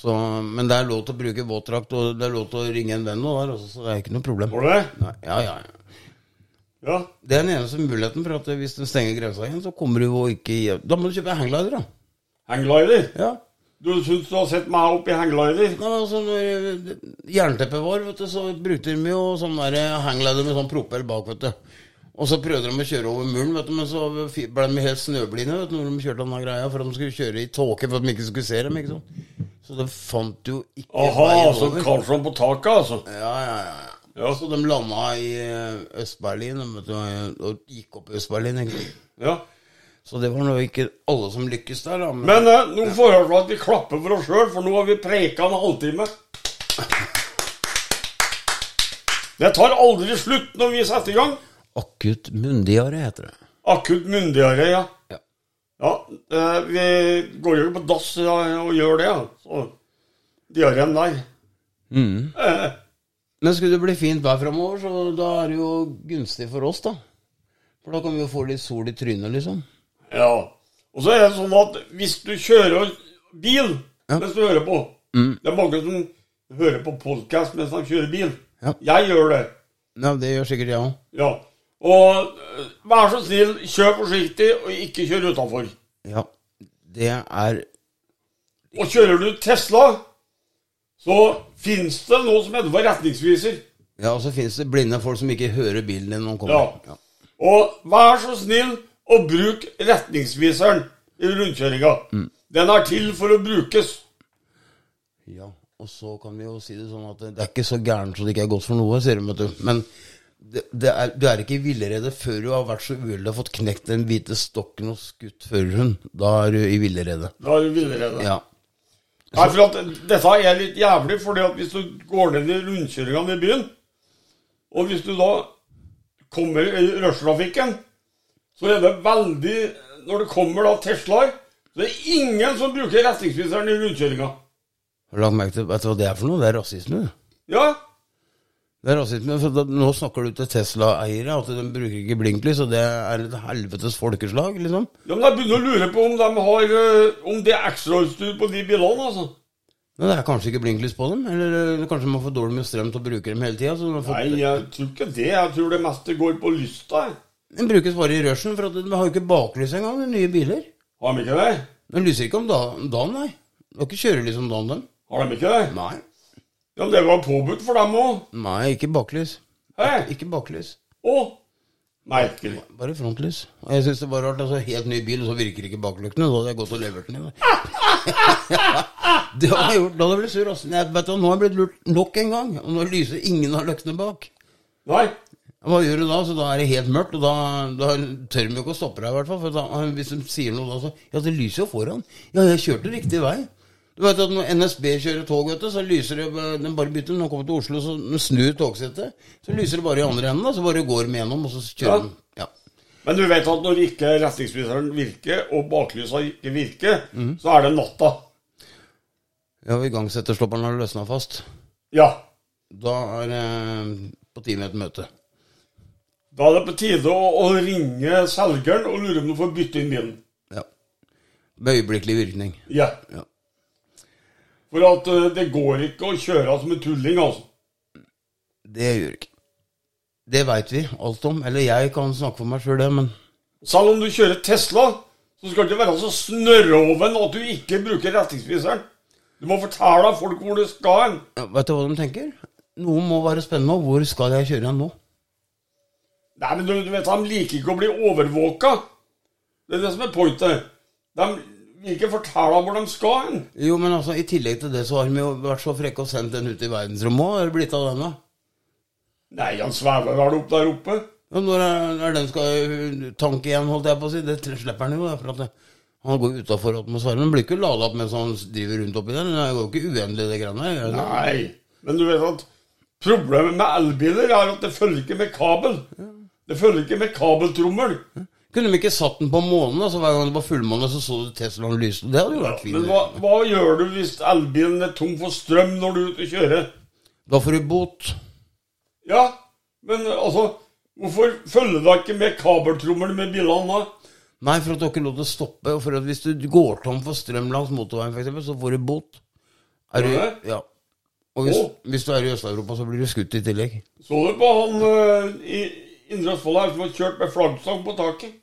[SPEAKER 2] Så, men det er lov til å bruke våtdrakt, og det er lov til å ringe en venn, nå der, altså, så det er ikke noe problem.
[SPEAKER 1] Var det?
[SPEAKER 2] Nei, ja, ja, ja.
[SPEAKER 1] Ja.
[SPEAKER 2] Det er den eneste muligheten, for at hvis den stenger grensa igjen, så kommer du jo ikke hjem. Da må du kjøpe hangglider, da.
[SPEAKER 1] Hangglider.
[SPEAKER 2] Ja.
[SPEAKER 1] Du syns du har sett meg opp i hangglider?
[SPEAKER 2] Nei, men altså, når eh, jernteppet var, vet du, så brukte de jo sånn der eh, hangglider med sånn propell bak, vet du. Og så prøvde de å kjøre over muren, vet du, men så fi- ble de helt snøblinde vet du, når de kjørte denne greia, for de skulle kjøre i tåke for at de ikke skulle se dem, ikke sant. Så de fant jo ikke
[SPEAKER 1] Aha,
[SPEAKER 2] veien
[SPEAKER 1] så
[SPEAKER 2] over.
[SPEAKER 1] Karlsson på taket, altså.
[SPEAKER 2] Ja, ja, ja.
[SPEAKER 1] Ja.
[SPEAKER 2] Så de landa i eh, Øst-Berlin vet du, og gikk opp i Øst-Berlin. ikke sant?
[SPEAKER 1] Ja.
[SPEAKER 2] Så det var nå ikke alle som lykkes der, da. Men,
[SPEAKER 1] Men eh, nå får jeg at vi klapper for oss sjøl, for nå har vi preika en halvtime. Det tar aldri slutt når vi setter i gang.
[SPEAKER 2] akutt mundiare heter det.
[SPEAKER 1] Akutt myndigere, ja.
[SPEAKER 2] Ja.
[SPEAKER 1] Ja, eh, Vi går jo ikke på dass ja, og gjør det. Ja. Så diareen der. Eh,
[SPEAKER 2] Men skulle det bli fint vær framover, så da er det jo gunstig for oss, da. For da kan vi jo få litt sol i trynet, liksom.
[SPEAKER 1] ja. Og så er det sånn at hvis du kjører bil mens du hører på
[SPEAKER 2] Mm.
[SPEAKER 1] Det er mange som hører på podkast mens de kjører bil.
[SPEAKER 2] Ja.
[SPEAKER 1] Jeg gjør det.
[SPEAKER 2] Ja, det gjør sikkert jeg òg.
[SPEAKER 1] Ja. Og eh, vær så snill, kjør forsiktig, og ikke kjør utafor.
[SPEAKER 2] Ja. Det er
[SPEAKER 1] Og kjører du Tesla, så fins det noe som heter for retningsviser.
[SPEAKER 2] Ja, og så fins det blinde folk som ikke hører bilen din når den
[SPEAKER 1] Ja.
[SPEAKER 2] kommer. Ja.
[SPEAKER 1] Og vær så snill å bruke retningsviseren i rundkjøringa. Den er til for å brukes.
[SPEAKER 2] Ja, og så kan vi jo si det sånn at det er ikke så gærent så det ikke er godt for noe, sier de, vet du. Men det, det er, Du er ikke i villrede før du har vært så uheldig og fått knekt den hvite stokken og skutt førerhund. Da er du i villrede.
[SPEAKER 1] Da er du villrede.
[SPEAKER 2] Ja.
[SPEAKER 1] Nei, for at dette er litt jævlig, fordi at hvis du går ned i rundkjøringene i byen, og hvis du da kommer i rushtrafikken, så er det veldig Når det kommer da Teslaer, så er det ingen som bruker retningsviseren i rundkjøringa.
[SPEAKER 2] Har du lagt merke til Vet du hva det er for noe? Det er rasisme.
[SPEAKER 1] Ja,
[SPEAKER 2] Det er rasisme, for da, Nå snakker du til Tesla-eiere, at de bruker ikke blinklys, og det er et helvetes folkeslag, liksom.
[SPEAKER 1] ja men jeg begynner å lure på om, de har, eh, om det er ekstrautstyr på de bilene, altså.
[SPEAKER 2] Men det er kanskje ikke blinklys på dem? Eller eh, kanskje man får dårlig med strøm til å bruke dem hele tida? Så de, har fått,
[SPEAKER 1] Nei, jeg tror ikke det. Jeg tror det meste går på lysta. jeg.
[SPEAKER 2] de brukes bare i rushen, for at de har jo ikke baklys engang, de nye biler.
[SPEAKER 1] Har de ikke det?
[SPEAKER 2] De lyser ikke om da- om dagen, nei. De har ikke kjørelys om dagen, dem.
[SPEAKER 1] Har de ikke det?
[SPEAKER 2] Nei.
[SPEAKER 1] Ja, men det var påbudt for dem òg.
[SPEAKER 2] Nei, ikke baklys.
[SPEAKER 1] Hæ?
[SPEAKER 2] Ikke baklys.
[SPEAKER 1] Å, merkelig.
[SPEAKER 2] Bare frontlys. Og jeg syns det var rart. altså Helt ny bil, og så virker ikke baklyktene. Da hadde jeg gått og levert den i det. det hadde jeg gjort. Da hadde jeg blitt sur. ass. Jeg vet du, nå har jeg blitt lurt nok en gang. Og nå lyser ingen av løktene bak.
[SPEAKER 1] Nei.
[SPEAKER 2] Hva gjør du da? Så da er det helt mørkt, og da, da tør de jo ikke å stoppe deg, i hvert fall. For da, ah, hvis de sier noe da, så Ja, det lyser jo foran. Ja, jeg kjørte riktig vei. Du vet at Når NSB kjører tog, vet du, så lyser det De bare bytter. Når de kommer til Oslo, så de snur togsettet. Så lyser det bare i andre enden, da. Så bare går de gjennom, og så
[SPEAKER 1] Ja.
[SPEAKER 2] kjører de. Ja.
[SPEAKER 1] Men du vet at når ikke retningsviseren virker, og baklysa ikke virker, så er det natta.
[SPEAKER 2] Ja, og igangsetterstopperen har løsna fast.
[SPEAKER 1] Ja.
[SPEAKER 2] Da er det på tide med et møte.
[SPEAKER 1] Da er det på tide å, å ringe selgeren og lure om du får bytte inn bilen.
[SPEAKER 2] Ja. Med øyeblikkelig virkning.
[SPEAKER 1] Ja.
[SPEAKER 2] Ja.
[SPEAKER 1] For at eh, det går ikke å kjøre som en tulling, altså.
[SPEAKER 2] Det gjør ikke. Det veit vi alt om. Eller jeg kan snakke for meg sjøl, det, men
[SPEAKER 1] Selv om du kjører Tesla, så skal det ikke være så snørroven at du ikke bruker retningsviseren. Du må fortelle folk hvor du skal hen.
[SPEAKER 2] ja, veit du hva de tenker? Noe må være spennende, og hvor skal jeg kjøre hen nå?
[SPEAKER 1] Nei, men du, du vet, De liker ikke å bli overvåka. Det er det som er pointet. De vil ikke fortelle hvor de skal hen.
[SPEAKER 2] Jo, men altså, i tillegg til det så har de jo vært så frekke og sendt den ut i verdensrommet òg. Er det blitt av den, da?
[SPEAKER 1] Nei, han svever vel opp der oppe.
[SPEAKER 2] Ja, når er er den skal tanke igjen, holdt jeg på å si? Det tre- slipper han jo, da, for at det, han går utafor atmosfæren. Den blir ikke lada opp mens han driver rundt oppi der. Det går jo ikke uendelig, det greiene der. gjør det?
[SPEAKER 1] Nei. Men du vet at problemet med elbiler er at det følger ikke med kabel. Det følger ikke med kabeltrommel.
[SPEAKER 2] Kunne de ikke satt den på månen? Altså, hver gang det var fullmåne, så så du Teslaen lyse? Det hadde jo vært fint.
[SPEAKER 1] Men hva, hva gjør du hvis elbilen er tom for strøm når du er ute og kjører?
[SPEAKER 2] Da får du bot.
[SPEAKER 1] Ja, men altså Hvorfor følger da ikke med kabeltrommel med bilene da?
[SPEAKER 2] Nei, for at du har ikke lov til å stoppe. Og for at hvis du går tom for strøm langs motorveien, for eksempel, så får du bot. Er du,
[SPEAKER 1] Gjør det?
[SPEAKER 2] ja. Og hvis,
[SPEAKER 1] Å.
[SPEAKER 2] hvis du er i Øst-Europa, så blir du skutt i tillegg.
[SPEAKER 1] Så du på han eh, i Indre Østfold her som har kjørt med flaggstang på taket?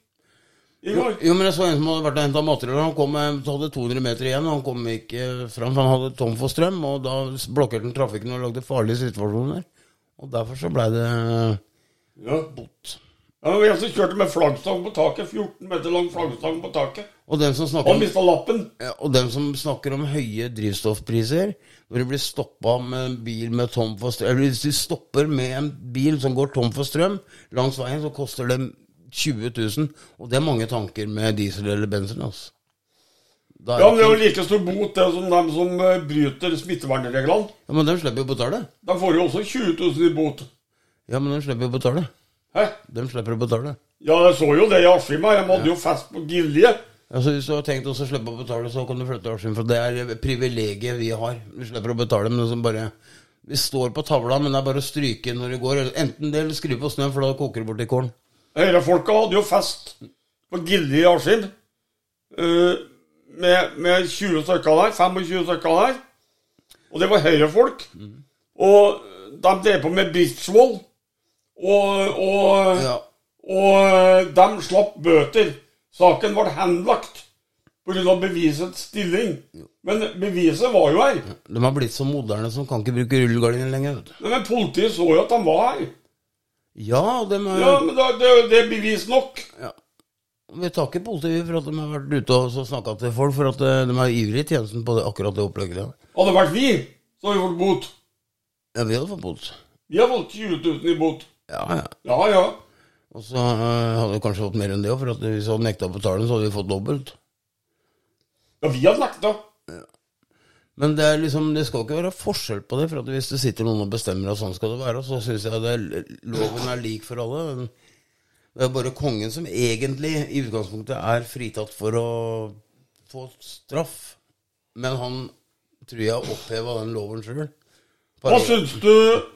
[SPEAKER 1] I går?
[SPEAKER 2] Jo, men jeg så en som hadde vært og henta materiell. Han kom, eh, så hadde 200 meter igjen, og han kom ikke fram. for Han hadde tom for strøm, og da blokkerte han trafikken og lagde farlige situasjoner. Og derfor så blei det
[SPEAKER 1] Ja.
[SPEAKER 2] bot.
[SPEAKER 1] ja men en som kjørte med flaggstang på taket, 14 meter lang flaggstang på taket.
[SPEAKER 2] Og den som snakker
[SPEAKER 1] Han
[SPEAKER 2] om,
[SPEAKER 1] mista lappen.
[SPEAKER 2] ja, Eh, og den som snakker om høye drivstoffpriser Når du blir stoppa med en bil med tom for strøm Eller hvis du stopper med en bil som går tom for strøm langs veien, så koster det 20 000. Og det er mange tanker med diesel eller bensin. Altså. Da er
[SPEAKER 1] Ja, men Det
[SPEAKER 2] det
[SPEAKER 1] er
[SPEAKER 2] ikke,
[SPEAKER 1] jo like stor bot det som dem som eh, bryter smittevernreglene.
[SPEAKER 2] ja, men de slipper jo å betale.
[SPEAKER 1] De får jo også 20 000 i bot.
[SPEAKER 2] Ja, men de slipper å betale.
[SPEAKER 1] Hæ?
[SPEAKER 2] De slipper å betale.
[SPEAKER 1] Ja, jeg så jo det i Askim her. De hadde jo fest på Gilje.
[SPEAKER 2] Altså, hvis du har tenkt også å slippe å betale, så kan du flytte til Askim, for det er privilegiet vi har. Du slipper å betale, men det som bare Vi står på tavla, men det er bare å stryke når det går. eller Enten det, eller skrive på snøen, for da koker det bort i kålen.
[SPEAKER 1] Høyrefolka hadde jo fest på Gilje i Askim. eh, med, med 20 stykker der, 25 stykker der. Og det var høyrefolk. Og de drev på med Britsvoll. Og, og,
[SPEAKER 2] Ja.
[SPEAKER 1] og eh, de slapp bøter. Saken ble henlagt pga. bevisets stilling. Men beviset var jo her.
[SPEAKER 2] De har blitt så moderne som kan ikke bruke rullegardiner lenger. vet du.
[SPEAKER 1] Men politiet så jo at de var her.
[SPEAKER 2] Ja, og de har,
[SPEAKER 1] Ja, men da- Det, det er bevis nok.
[SPEAKER 2] Vi takker politiet for at de har vært ute og snakka til folk, for at eh, de er ivrige i tjenesten på det, akkurat det opplegget der.
[SPEAKER 1] Hadde det vært vi, så hadde vi fått bot.
[SPEAKER 2] Ja, vi hadde fått bot.
[SPEAKER 1] Vi har fått 20 000 i bot.
[SPEAKER 2] Ja, ja.
[SPEAKER 1] Ja, ja.
[SPEAKER 2] Og så eh, hadde vi kanskje fått mer enn det òg, for at hvis vi hadde nekta å betale den, så hadde vi fått dobbelt.
[SPEAKER 1] Ja, vi hadde lagt det.
[SPEAKER 2] Men det, er liksom, det skal ikke være forskjell på det, for at hvis det sitter noen og bestemmer at sånn skal det være, så syns jeg det er, loven er lik for alle. men Det er bare kongen som egentlig i utgangspunktet er fritatt for å få straff. Men han tror jeg oppheva den loven sjøl.
[SPEAKER 1] Hva syns du,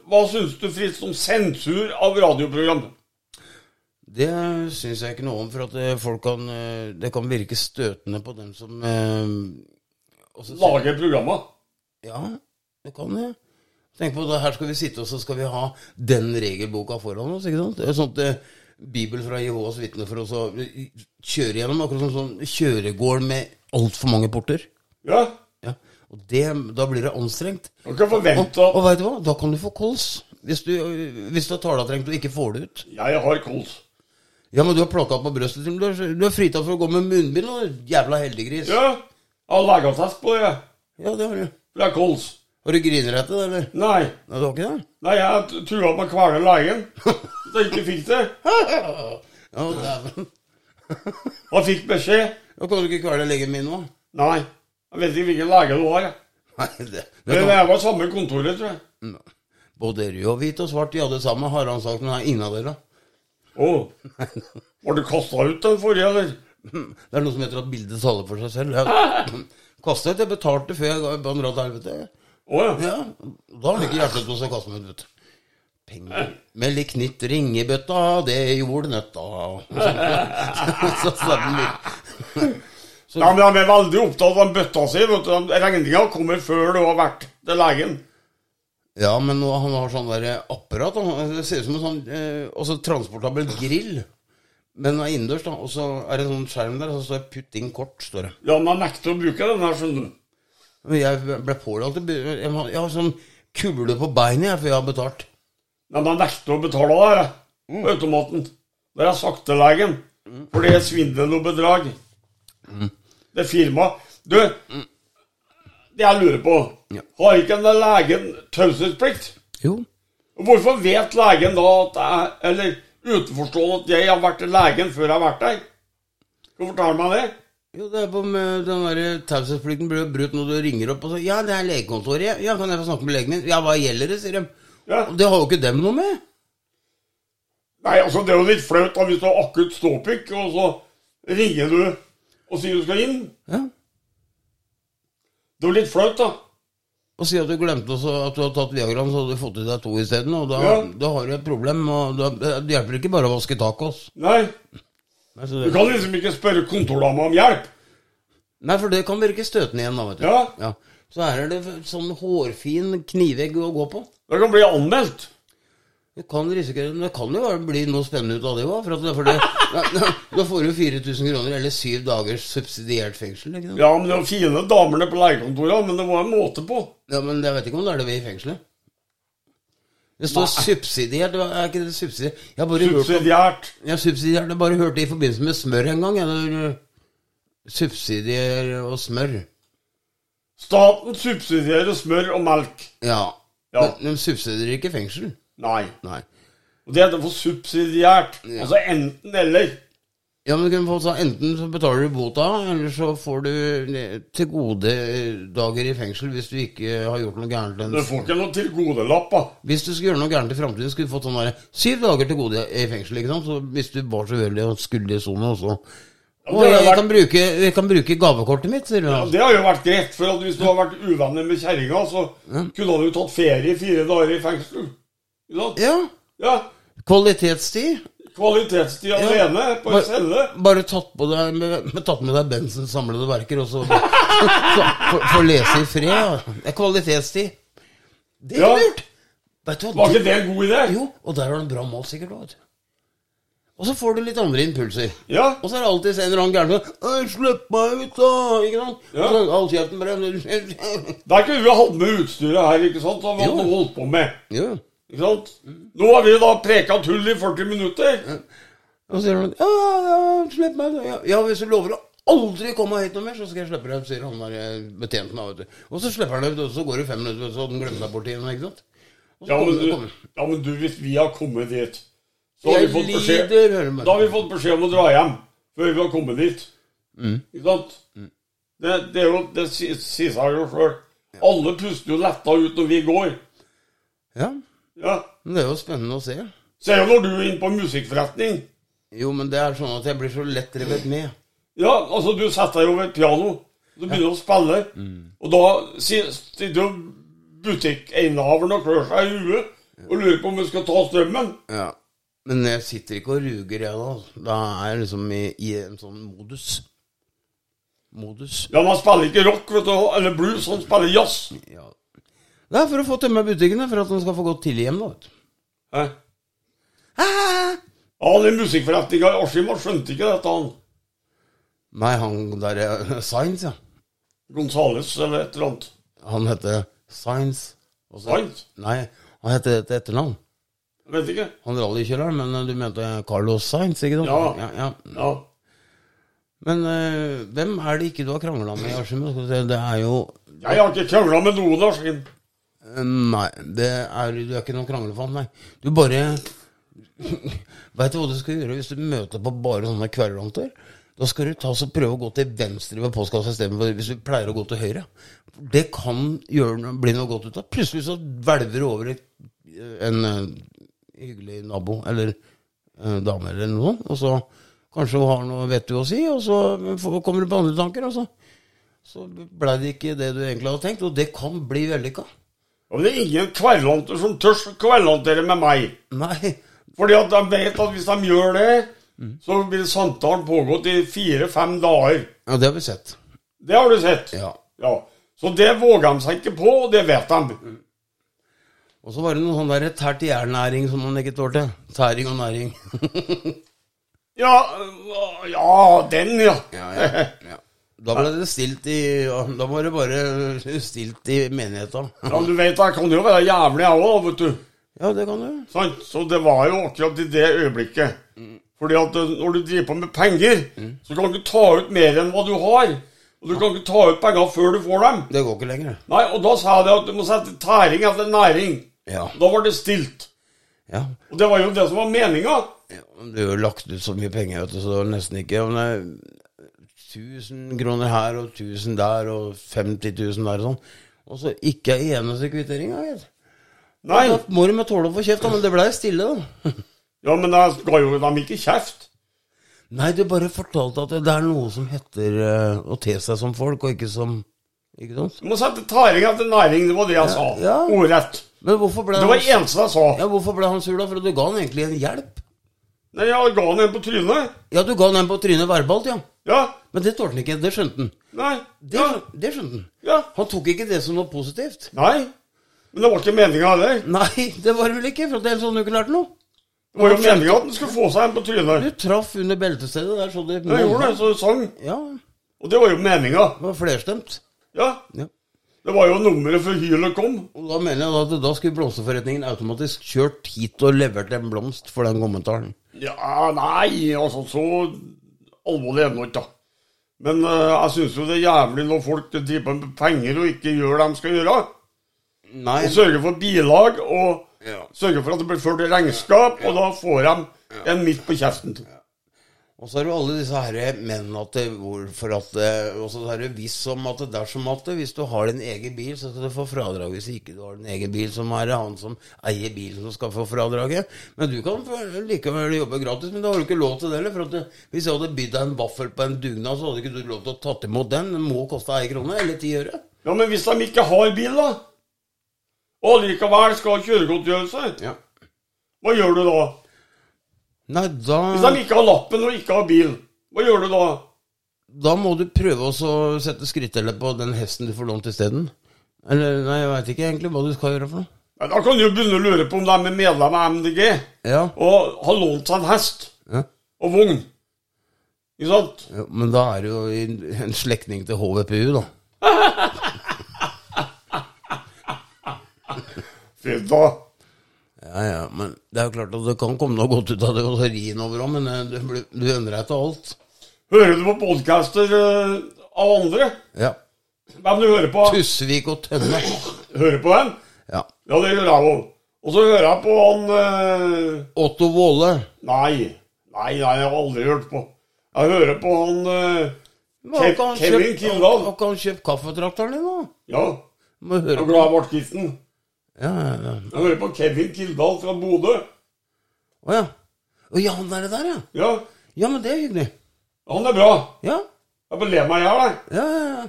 [SPEAKER 1] hva syns du Fritz, om sensur av radioprogram?
[SPEAKER 2] Det syns jeg ikke noe om, for at eh, folk kan eh, Det kan virke støtende på dem som eh, også-
[SPEAKER 1] Lage programmet?
[SPEAKER 2] Ja, det kan det. Tenk på det, her skal vi sitte, og så skal vi ha den regelboka foran oss, ikke sant? Det er sånt eh, Bibel fra Jehovas vitner for oss å eh, kjøre gjennom, akkurat som sånn kjøregård med altfor mange porter.
[SPEAKER 1] Ja.
[SPEAKER 2] Ja. Og det, da blir det anstrengt.
[SPEAKER 1] Du kan forvente
[SPEAKER 2] Og, og
[SPEAKER 1] at
[SPEAKER 2] veit du hva, da kan du få kols. Hvis du, hvis du har talatrengt og ikke får det ut.
[SPEAKER 1] Jeg har kols.
[SPEAKER 2] Ja, men du har plakka på brøstet til, du er, du er fritatt for å gå med munnbind, da, du jævla heldiggris.
[SPEAKER 1] Ja. Jeg har legeattest på det. jeg.
[SPEAKER 2] ja, det har du.
[SPEAKER 1] For jeg har kols.
[SPEAKER 2] Har du grinerett til det, eller?
[SPEAKER 1] Nei.
[SPEAKER 2] Nei, du har ikke det?
[SPEAKER 1] Nei, jeg t- trua med å kvele legen. Så jeg ikke fikk det.
[SPEAKER 2] Ja, dæven.
[SPEAKER 1] Han fikk beskjed.
[SPEAKER 2] Da kan du ikke kvele legen min nå.
[SPEAKER 1] Nei. Jeg vet ikke hvilken lege du har. jeg.
[SPEAKER 2] Nei, det, det
[SPEAKER 1] Men
[SPEAKER 2] kan,
[SPEAKER 1] jeg var samme kontoret, tror jeg.
[SPEAKER 2] både rød og hvit og svart, de alle sammen, har han sagt, men er ingen av dere.
[SPEAKER 1] Å. Var du kasta ut den forrige, eller?
[SPEAKER 2] Det er noe som heter at bildet taler for seg selv. Jeg kastet ut, jeg betalte før jeg ga bann til helvete.
[SPEAKER 1] Å ja.
[SPEAKER 2] Ja, da har det ikke hjertet på seg å kaste meg ut, vet du. Penger, meld i knitt, ring i bøtta, det gjorde nøtta. Så satt den litt.
[SPEAKER 1] Nei, men De er veldig opptatt av den bøtta si. vet du. Regninga kommer før du har vært til legen.
[SPEAKER 2] Ja, men nå, han har sånn der apparat. Han, det ser ut som en sånn eh, også transportabel grill. Men den er innendørs, da. Og så er det en sånn skjerm der, og så står det 'putt inn kort'. står det.
[SPEAKER 1] Ja, men jeg nekter å bruke den her, skjønner du.
[SPEAKER 2] Men Jeg ble pålagt å by- Jeg har jeg har sånn kule på beinet, jeg, for jeg har betalt.
[SPEAKER 1] Nei, men jeg nekter å betale der, jeg. På automaten. Der har jeg sagt til legen. For det er svindel og bedrag. Det firmaet Du, det jeg lurer på
[SPEAKER 2] Ja.
[SPEAKER 1] Har ikke den der legen taushetsplikt?
[SPEAKER 2] Jo.
[SPEAKER 1] Og Hvorfor vet legen da at jeg Eller utenforstående at jeg har vært til legen før jeg har vært der? Kan du fortelle meg det?
[SPEAKER 2] Jo, det er på med den der taushetsplikten blir jo brutt når du ringer opp og sier 'Ja, det er legekontoret. Ja. ja, kan jeg få snakke med legen min?' 'Ja, hva gjelder det?' sier de.
[SPEAKER 1] Ja.
[SPEAKER 2] Og det har jo ikke dem noe med.
[SPEAKER 1] Nei, altså Det er jo litt flaut da hvis du har akutt ståpikk, og så ringer du og sier du skal inn.
[SPEAKER 2] Ja.
[SPEAKER 1] Det er jo litt flaut, da.
[SPEAKER 2] Og si at du glemte også at du hadde tatt Viagraen, så hadde du fått i deg to isteden. Og da,
[SPEAKER 1] Ja.
[SPEAKER 2] da har du et problem. og da, Det hjelper ikke bare å vaske tacos.
[SPEAKER 1] Nei,
[SPEAKER 2] Nei, så
[SPEAKER 1] Du
[SPEAKER 2] det,
[SPEAKER 1] kan liksom ikke spørre kontordama om hjelp.
[SPEAKER 2] nei, for det kan virke støtende igjen, da, vet du.
[SPEAKER 1] Ja,
[SPEAKER 2] Så her er det sånn hårfin knivegg å gå på.
[SPEAKER 1] Det kan bli anmeldt.
[SPEAKER 2] Du kan risikere, men Det kan jo være- bli noe spennende ut av det òg. For at det, for det, da, da får du 4000 kroner eller syv dagers subsidiert fengsel. ikke sant?
[SPEAKER 1] Ja, men det er jo fine damene på legekontorene, men det må en måte på.
[SPEAKER 2] Ja, men jeg vet ikke om det er det ved i fengselet. Det står subsidiert. hva- Er ikke det subsidiert? Jeg har bare hørt om
[SPEAKER 1] Subsidiært.
[SPEAKER 2] Jeg subsidierte jeg bare hørte det i forbindelse med smør en gang. Eller subsidier og smør.
[SPEAKER 1] Staten subsidierer smør og melk.
[SPEAKER 2] Ja.
[SPEAKER 1] Ja.
[SPEAKER 2] Men de subsidierer ikke fengsel.
[SPEAKER 1] Nei.
[SPEAKER 2] Nei.
[SPEAKER 1] Og det heter for subsidiært.
[SPEAKER 2] Ja.
[SPEAKER 1] Altså enten-eller.
[SPEAKER 2] Ja, men du kunne fått sa, Enten så betaler du bota, eller så får du til gode dager i fengsel hvis du ikke har gjort noe gærent.
[SPEAKER 1] Du får ikke noe tilgodelapp, da.
[SPEAKER 2] Hvis du skulle gjøre noe gærent i framtiden, skulle du fått sånn der, syv dager til gode i fengsel. ikke sant? Så Hvis du var så uheldig og skulle i sone, og så
[SPEAKER 1] Ja,
[SPEAKER 2] Å,
[SPEAKER 1] det har
[SPEAKER 2] jeg,
[SPEAKER 1] vært-
[SPEAKER 2] kan bruke, jeg kan bruke gavekortet mitt, sier du.
[SPEAKER 1] Ja, Det har jo vært greit, for at hvis du har vært uvenner med kjerringa, så kunne han jo tatt ferie i fire dager i fengsel. Ikke sant?
[SPEAKER 2] Ja.
[SPEAKER 1] Ja.
[SPEAKER 2] Kvalitetstid.
[SPEAKER 1] Kvalitetstid alene på en celle.
[SPEAKER 2] Bare tatt, på deg, med, med, tatt med deg Bensens samlede verker, og så få lese i fred. Ja. Det er kvalitetstid. Det er
[SPEAKER 1] Ja.
[SPEAKER 2] lurt! Vet du hva?
[SPEAKER 1] Var ikke det en god idé?
[SPEAKER 2] Jo, og der har du en bra mål, sikkert. også, Vet. du. Og så får du litt andre impulser.
[SPEAKER 1] Ja.
[SPEAKER 2] Og så er det alltid en eller annen gæren som «Øy, 'Slipp meg ut, da!' Ikke sant?
[SPEAKER 1] Ja.
[SPEAKER 2] Og så all kjeften bare
[SPEAKER 1] Der kunne vi hatt med utstyret her, ikke sant? Som vi
[SPEAKER 2] Jo.
[SPEAKER 1] hadde holdt på med.
[SPEAKER 2] Jo.
[SPEAKER 1] Ikke sant? Nå har vi da preka tull i 40 minutter.
[SPEAKER 2] Og så sier han ja, ja, 'Slipp meg ut.' da.» Ja, ja, hvis du lover å aldri komme hit noe mer, så skal jeg slippe deg ut, sier han der eh, betjenten. da, vet du. Og så slipper han deg ut, og så går det fem minutter, og så har den glemt deg bort igjen. ikke sant? Og så
[SPEAKER 1] Ja, men
[SPEAKER 2] kommer-
[SPEAKER 1] du,
[SPEAKER 2] kommer.
[SPEAKER 1] ja, men du hvis vi har kommet dit, så har vi fått
[SPEAKER 2] Jeg
[SPEAKER 1] beskjed
[SPEAKER 2] lider, hører du meg.
[SPEAKER 1] Da har vi fått beskjed om å dra hjem før vi har kommet dit. Ikke sant? Det, det er jo Det si- sier seg jo sjøl. Alle puster jo letta ut når vi går.
[SPEAKER 2] Ja,
[SPEAKER 1] Ja.
[SPEAKER 2] men det er jo spennende å se.
[SPEAKER 1] Se jo når du er inne på en musikkforretning.
[SPEAKER 2] Jo, men det er sånn at jeg blir så lett revet med.
[SPEAKER 1] Ja, altså, du setter deg over et piano. Du begynner å spille. Og da si- sitter jo butikkeienhaveren og klør seg i huet og lurer på om hun skal ta strømmen.
[SPEAKER 2] Ja. Men jeg sitter ikke og ruger, jeg da. Da er jeg liksom i, i en sånn modus. Modus.
[SPEAKER 1] Ja, man spiller ikke rock vet du, eller blues, han spiller jazz.
[SPEAKER 2] Ja. Det er for å få tømme butikkene, for at de skal få gått tidlig hjem, da. vet du.
[SPEAKER 1] Hæ?
[SPEAKER 2] Ah!
[SPEAKER 1] Han i musikkforretninga i Askim han skjønte ikke dette, han.
[SPEAKER 2] Nei, han der er Science, ja.
[SPEAKER 1] Gonzales eller et eller annet.
[SPEAKER 2] Han heter Science. Og så-
[SPEAKER 1] Science?
[SPEAKER 2] Nei, han heter et etternavn.
[SPEAKER 1] Jeg vet ikke.
[SPEAKER 2] Han rallykjøreren, men eh, du mente Carlos Sainz, ikke sant?
[SPEAKER 1] Ja.
[SPEAKER 2] ja, ja.
[SPEAKER 1] Ja.
[SPEAKER 2] Men eh, hvem er det ikke du har krangla med, Askim? Skal vi se, Det er jo
[SPEAKER 1] Jeg har ikke krangla med noen, Askim.
[SPEAKER 2] Eh, Nei, det er, du er ikke noen kranglefant, nei. Du bare Veit du hva du skal gjøre hvis du møter på bare sånne kverulanter? Da skal du ta og så prøve å gå til venstre ved postkassa istedenfor hvis du pleier å gå til høyre. Det kan gjøre, noe- bli noe godt ut av. Plutselig så hvelver du over et, en eh, hyggelig nabo eller eh, dame eller noe sånt, og så kanskje hun har noe vettig å si, og så får- kommer du på andre tanker, og så, så blei det ikke det du egentlig hadde tenkt, og det kan bli vellykka.
[SPEAKER 1] Ja, men det er ingen kverulanter som tør å kverulantere med meg.
[SPEAKER 2] Nei.
[SPEAKER 1] Fordi at de vet at hvis de gjør det, så vil samtalen pågått i fire-fem dager.
[SPEAKER 2] Ja, det har vi sett.
[SPEAKER 1] Det har du sett.
[SPEAKER 2] Ja.
[SPEAKER 1] Så det våger de seg ikke på, og det vet de.
[SPEAKER 2] Og så var det noe sånn der tært i jern-næring som man ikke tålte. Tæring og næring.
[SPEAKER 1] Ja, øh, ja, den, ja.
[SPEAKER 2] Da ble det stilt i ja, Da var det bare stilt i menigheta.
[SPEAKER 1] Ja, men du vet, jeg kan jo være jævlig, jeg òg, vet du.
[SPEAKER 2] Ja, det kan du.
[SPEAKER 1] Sant? Så det var jo akkurat i det øyeblikket. Fordi at eh, når du driver på med penger, så kan du ikke ta ut mer enn hva du har. Og du kan ikke ta ut penger før du får dem.
[SPEAKER 2] Det går ikke lenger. det.
[SPEAKER 1] Nei, Og da sa de at du må sette tæring etter næring.
[SPEAKER 2] Ja.
[SPEAKER 1] Da var det stilt.
[SPEAKER 2] ja.
[SPEAKER 1] Og det var jo det som var meninga.
[SPEAKER 2] ja men du har jo lagt ut så mye penger, vet du, så nesten ikke men, eh, 1000 kroner her og 1000 der og 50 000 der og sånn. Og så ikke ei eneste kvittering. ja, gitt.
[SPEAKER 1] Nei.
[SPEAKER 2] Da må du med tåle å få kjeft, da, men det blei stille, da.
[SPEAKER 1] Ja, men jeg ga jo dem ikke kjeft.
[SPEAKER 2] Nei, du bare fortalte at det er noe som heter eh, å te seg som folk, og ikke som Ikke sant?
[SPEAKER 1] Du må sette tæring etter næring. Det var det jeg sa.
[SPEAKER 2] ja.
[SPEAKER 1] Ordrett.
[SPEAKER 2] Men hvorfor ble,
[SPEAKER 1] Det
[SPEAKER 2] han,
[SPEAKER 1] var det eneste jeg sa.
[SPEAKER 2] ja, hvorfor ble han sur, da? For du ga han egentlig en hjelp.
[SPEAKER 1] Nei, jeg ga han en på trynet.
[SPEAKER 2] Ja, du ga han en på trynet verbalt, ja.
[SPEAKER 1] Ja.
[SPEAKER 2] Men det tålte han ikke. Det skjønte han.
[SPEAKER 1] Nei.
[SPEAKER 2] Det,
[SPEAKER 1] Ja.
[SPEAKER 2] det skjønte han.
[SPEAKER 1] ja.
[SPEAKER 2] Han tok ikke det som noe positivt.
[SPEAKER 1] Nei. Men det var ikke meninga heller.
[SPEAKER 2] Nei, det var det vel ikke, for at ellers hadde han jo ikke lært noe.
[SPEAKER 1] Det var jo meninga at den skulle få seg en på trynet.
[SPEAKER 2] Du traff under beltestedet der, så det
[SPEAKER 1] Jeg gjorde det, så det sang.
[SPEAKER 2] Ja,
[SPEAKER 1] Og det var jo meninga.
[SPEAKER 2] det var flerstemt.
[SPEAKER 1] Ja.
[SPEAKER 2] Ja.
[SPEAKER 1] Det var jo nummeret før hylet kom.
[SPEAKER 2] Og da mener jeg da at da skulle blomsterforretningen automatisk kjørt hit og levert en blomst for den kommentaren.
[SPEAKER 1] Ja, nei, altså så alvorlig er det nå ikke, da. Men eh, jeg syns jo det er jævlig når folk driver på med penger og ikke gjør det de skal gjøre.
[SPEAKER 2] Nei.
[SPEAKER 1] Og sørger for bilag, og
[SPEAKER 2] Ja.
[SPEAKER 1] sørger for at det blir ført regnskap, og da får de en midt på kjeften.
[SPEAKER 2] Og så er det jo alle disse herre mennene at det- hvorfor at det- Og så er det visst som at det dersom at det, hvis du har din egen bil, så skal du få fradrag. Hvis ikke du har din egen bil, så er det han som eier bilen som skal få fradraget. Men du kan få- likevel jobbe gratis, men det har du ikke lov til det heller. For at det, hvis jeg hadde bydd deg en vaffel på en dugnad, så hadde ikke du lov til å tatt imot den. Den må koste ei krone eller ti øre.
[SPEAKER 1] Ja, men hvis de ikke har bil, da? Og likevel skal ha kjøregodtgjørelse?
[SPEAKER 2] Ja.
[SPEAKER 1] Hva gjør du da?
[SPEAKER 2] Nei,
[SPEAKER 1] Hvis
[SPEAKER 2] da,
[SPEAKER 1] de ikke har lappen og ikke har bil, hva gjør du da?
[SPEAKER 2] da må du prøve å så sette skritteller på den hesten du får lånt isteden. Eller nei, jeg veit ikke egentlig hva du skal gjøre for noe.
[SPEAKER 1] Nei, da kan du jo begynne å lure på om de er medlem av MDG
[SPEAKER 2] Ja.
[SPEAKER 1] og har lånt seg en hest
[SPEAKER 2] ja.
[SPEAKER 1] og vogn. Ikke sant?
[SPEAKER 2] Ja, men da er det jo i- en slektning til HVPU, da.
[SPEAKER 1] Fy da.
[SPEAKER 2] Ja, ja, men Det er jo klart at det kan komme noe godt ut av det, og så ri den over òg, men eh, du, blir- du endrer deg til alt.
[SPEAKER 1] Hører du på podcaster eh, av andre?
[SPEAKER 2] Ja.
[SPEAKER 1] Hvem du hører på?
[SPEAKER 2] Tusvik og Tønne.
[SPEAKER 1] Hører på dem?
[SPEAKER 2] Ja.
[SPEAKER 1] Ja, det gjør jeg òg. Og så hører jeg på han eh,
[SPEAKER 2] Otto Våle.
[SPEAKER 1] Nei. Nei, nei, jeg har aldri hørt på. Jeg hører på han eh,
[SPEAKER 2] Hva, har ikke han
[SPEAKER 1] Kevin
[SPEAKER 2] kjøpt-
[SPEAKER 1] Kildahl.
[SPEAKER 2] Har har ikke han kjøpt kaffetrakteren din, da?
[SPEAKER 1] Ja,
[SPEAKER 2] Må høre
[SPEAKER 1] jeg er
[SPEAKER 2] på.
[SPEAKER 1] glad i Bartkisten.
[SPEAKER 2] Ja, ja, ja.
[SPEAKER 1] Jeg hører på Kevin Kildahl fra Bodø.
[SPEAKER 2] Å ja. Å ja, han er det der, ja.
[SPEAKER 1] Ja,
[SPEAKER 2] Ja, men det er hyggelig.
[SPEAKER 1] han er bra.
[SPEAKER 2] Ja,
[SPEAKER 1] Jeg bare ler meg i hjel, jeg.
[SPEAKER 2] ja, ja.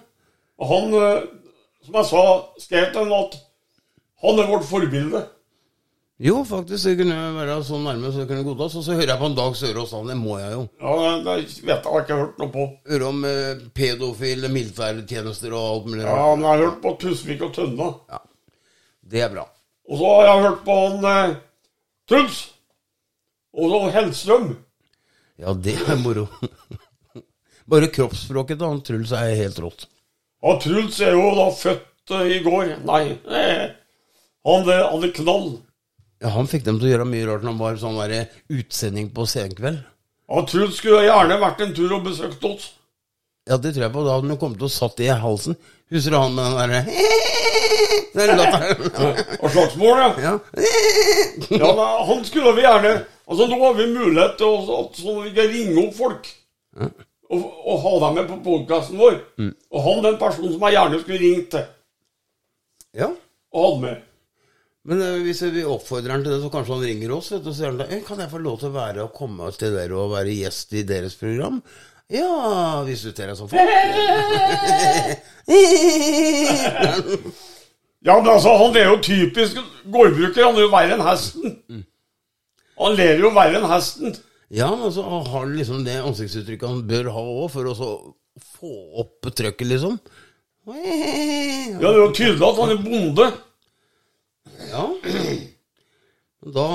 [SPEAKER 1] Og han, eh, som jeg sa, skrev til ham at han er vårt forbilde.
[SPEAKER 2] Jo, faktisk. Det kunne være så nærme så det kunne godtas. Og så hører jeg på en Dag Sørås, da. Det må jeg jo.
[SPEAKER 1] Ja, Det vet jeg, har ikke hørt noe på.
[SPEAKER 2] Høre om eh, pedofile militærtjenester og alt mulig
[SPEAKER 1] Ja,
[SPEAKER 2] rart.
[SPEAKER 1] men jeg har hørt på Tusvik og Tønna.
[SPEAKER 2] Det er bra.
[SPEAKER 1] Og så har jeg hørt på han eh, Truls. Og så Hellstrøm.
[SPEAKER 2] Ja, det er moro. Bare kroppsspråket til han Truls er helt rått.
[SPEAKER 1] Ja, Truls er jo da født eh, i går. Nei, eh, han, er, han er knall.
[SPEAKER 2] Ja, Han fikk dem til å gjøre mye rart når han var sånn der utsending på Senkveld.
[SPEAKER 1] Ja, Truls skulle gjerne vært en tur og besøkt oss.
[SPEAKER 2] Ja, det tror jeg på. Da hadde han jo kommet til å satt det i halsen. Husker du han med den derre Den latteren.
[SPEAKER 1] Og slagsmål, ja.
[SPEAKER 2] Ja.
[SPEAKER 1] ja men han skulle vi gjerne Altså, nå har vi mulighet til å at sånn at vi kan ringe opp folk. Og, og ha dem med på podkasten vår. Og han den personen som jeg gjerne skulle ringt til.
[SPEAKER 2] ja.
[SPEAKER 1] Og hatt med.
[SPEAKER 2] Men eh, hvis vi oppfordrer han til det, så kanskje han ringer oss vet du, og sier han da, «Eh, Kan jeg få lov til å være og komme til dere og være gjest i deres program? Ja, hvis du ser deg sånn for
[SPEAKER 1] Ja, men altså, han er jo typisk gårdbruker. Han er jo verre enn hesten. Han ler jo verre enn hesten.
[SPEAKER 2] Ja, men så har han liksom det ansiktsuttrykket han bør ha òg, for å så få opp trøkket, liksom.
[SPEAKER 1] Ja, det er jo tydelig at han er bonde.
[SPEAKER 2] Ja. Da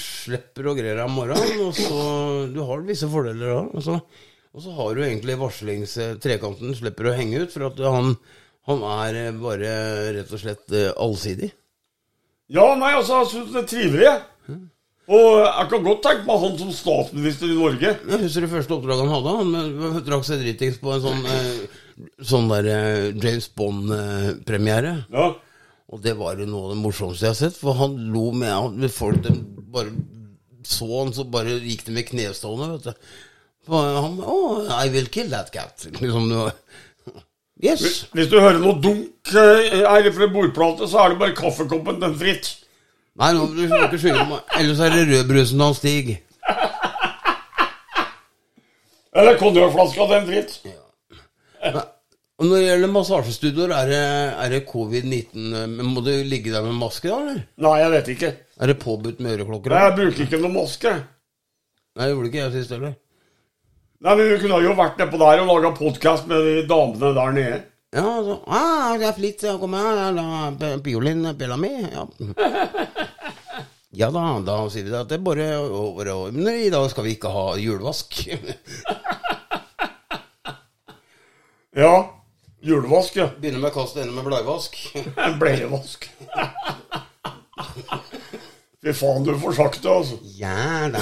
[SPEAKER 2] slipper og greier deg om morgenen, og så Du har visse fordeler da. Og så, og så har du egentlig varslingstrekanten slipper å henge ut, for at han, han er eh, bare rett og slett eh, allsidig.
[SPEAKER 1] Ja, nei, altså, jeg syns det er trivelig. jeg. Og jeg kan godt tenke meg han som statsminister i Norge.
[SPEAKER 2] Jeg husker det første oppdraget han hadde. Han eh, drakk seg dritings på en sånn, eh, sånn der eh, James eh, Bond-premiere.
[SPEAKER 1] Ja,
[SPEAKER 2] Og det var jo noe av det morsomste jeg har sett, for han lo med han- folk de bare så han, så bare gikk de med knestående, vet du. For han oh, I will kill that cat. Liksom det var Yes.
[SPEAKER 1] Hvis du hører noe dunk eh, her fra bordplate, så er det bare kaffekoppen den fritt.
[SPEAKER 2] Nei, nå må du ikke skylde på meg. Ellers er det rødbrusen til han Stig.
[SPEAKER 1] Eller konjakkflaska den fritt.
[SPEAKER 2] Og når det gjelder massasjestudioer, er det, er det covid-19 eh, men Må du ligge der med maske, da, eller?
[SPEAKER 1] Nei, jeg vet ikke.
[SPEAKER 2] Er det påbudt med øreklokker?
[SPEAKER 1] Jeg bruker ikke noe maske.
[SPEAKER 2] Nei, det gjorde ikke jeg sist heller.
[SPEAKER 1] Nei, men Vi kunne jo vært nedpå der og laga podkast med de damene der nede.
[SPEAKER 2] Ja, så, ah, det er flitt, jeg kommer her, ja, da, Piolin, pela mi, ja. Ja da, da sier vi det at det er bare over og Men i dag skal vi ikke ha julevask.
[SPEAKER 1] Ja. Julevask, ja.
[SPEAKER 2] Begynner med kast, ender med bleivask.
[SPEAKER 1] En bleievask. Fy faen, du får sagt det, altså.
[SPEAKER 2] Ja da.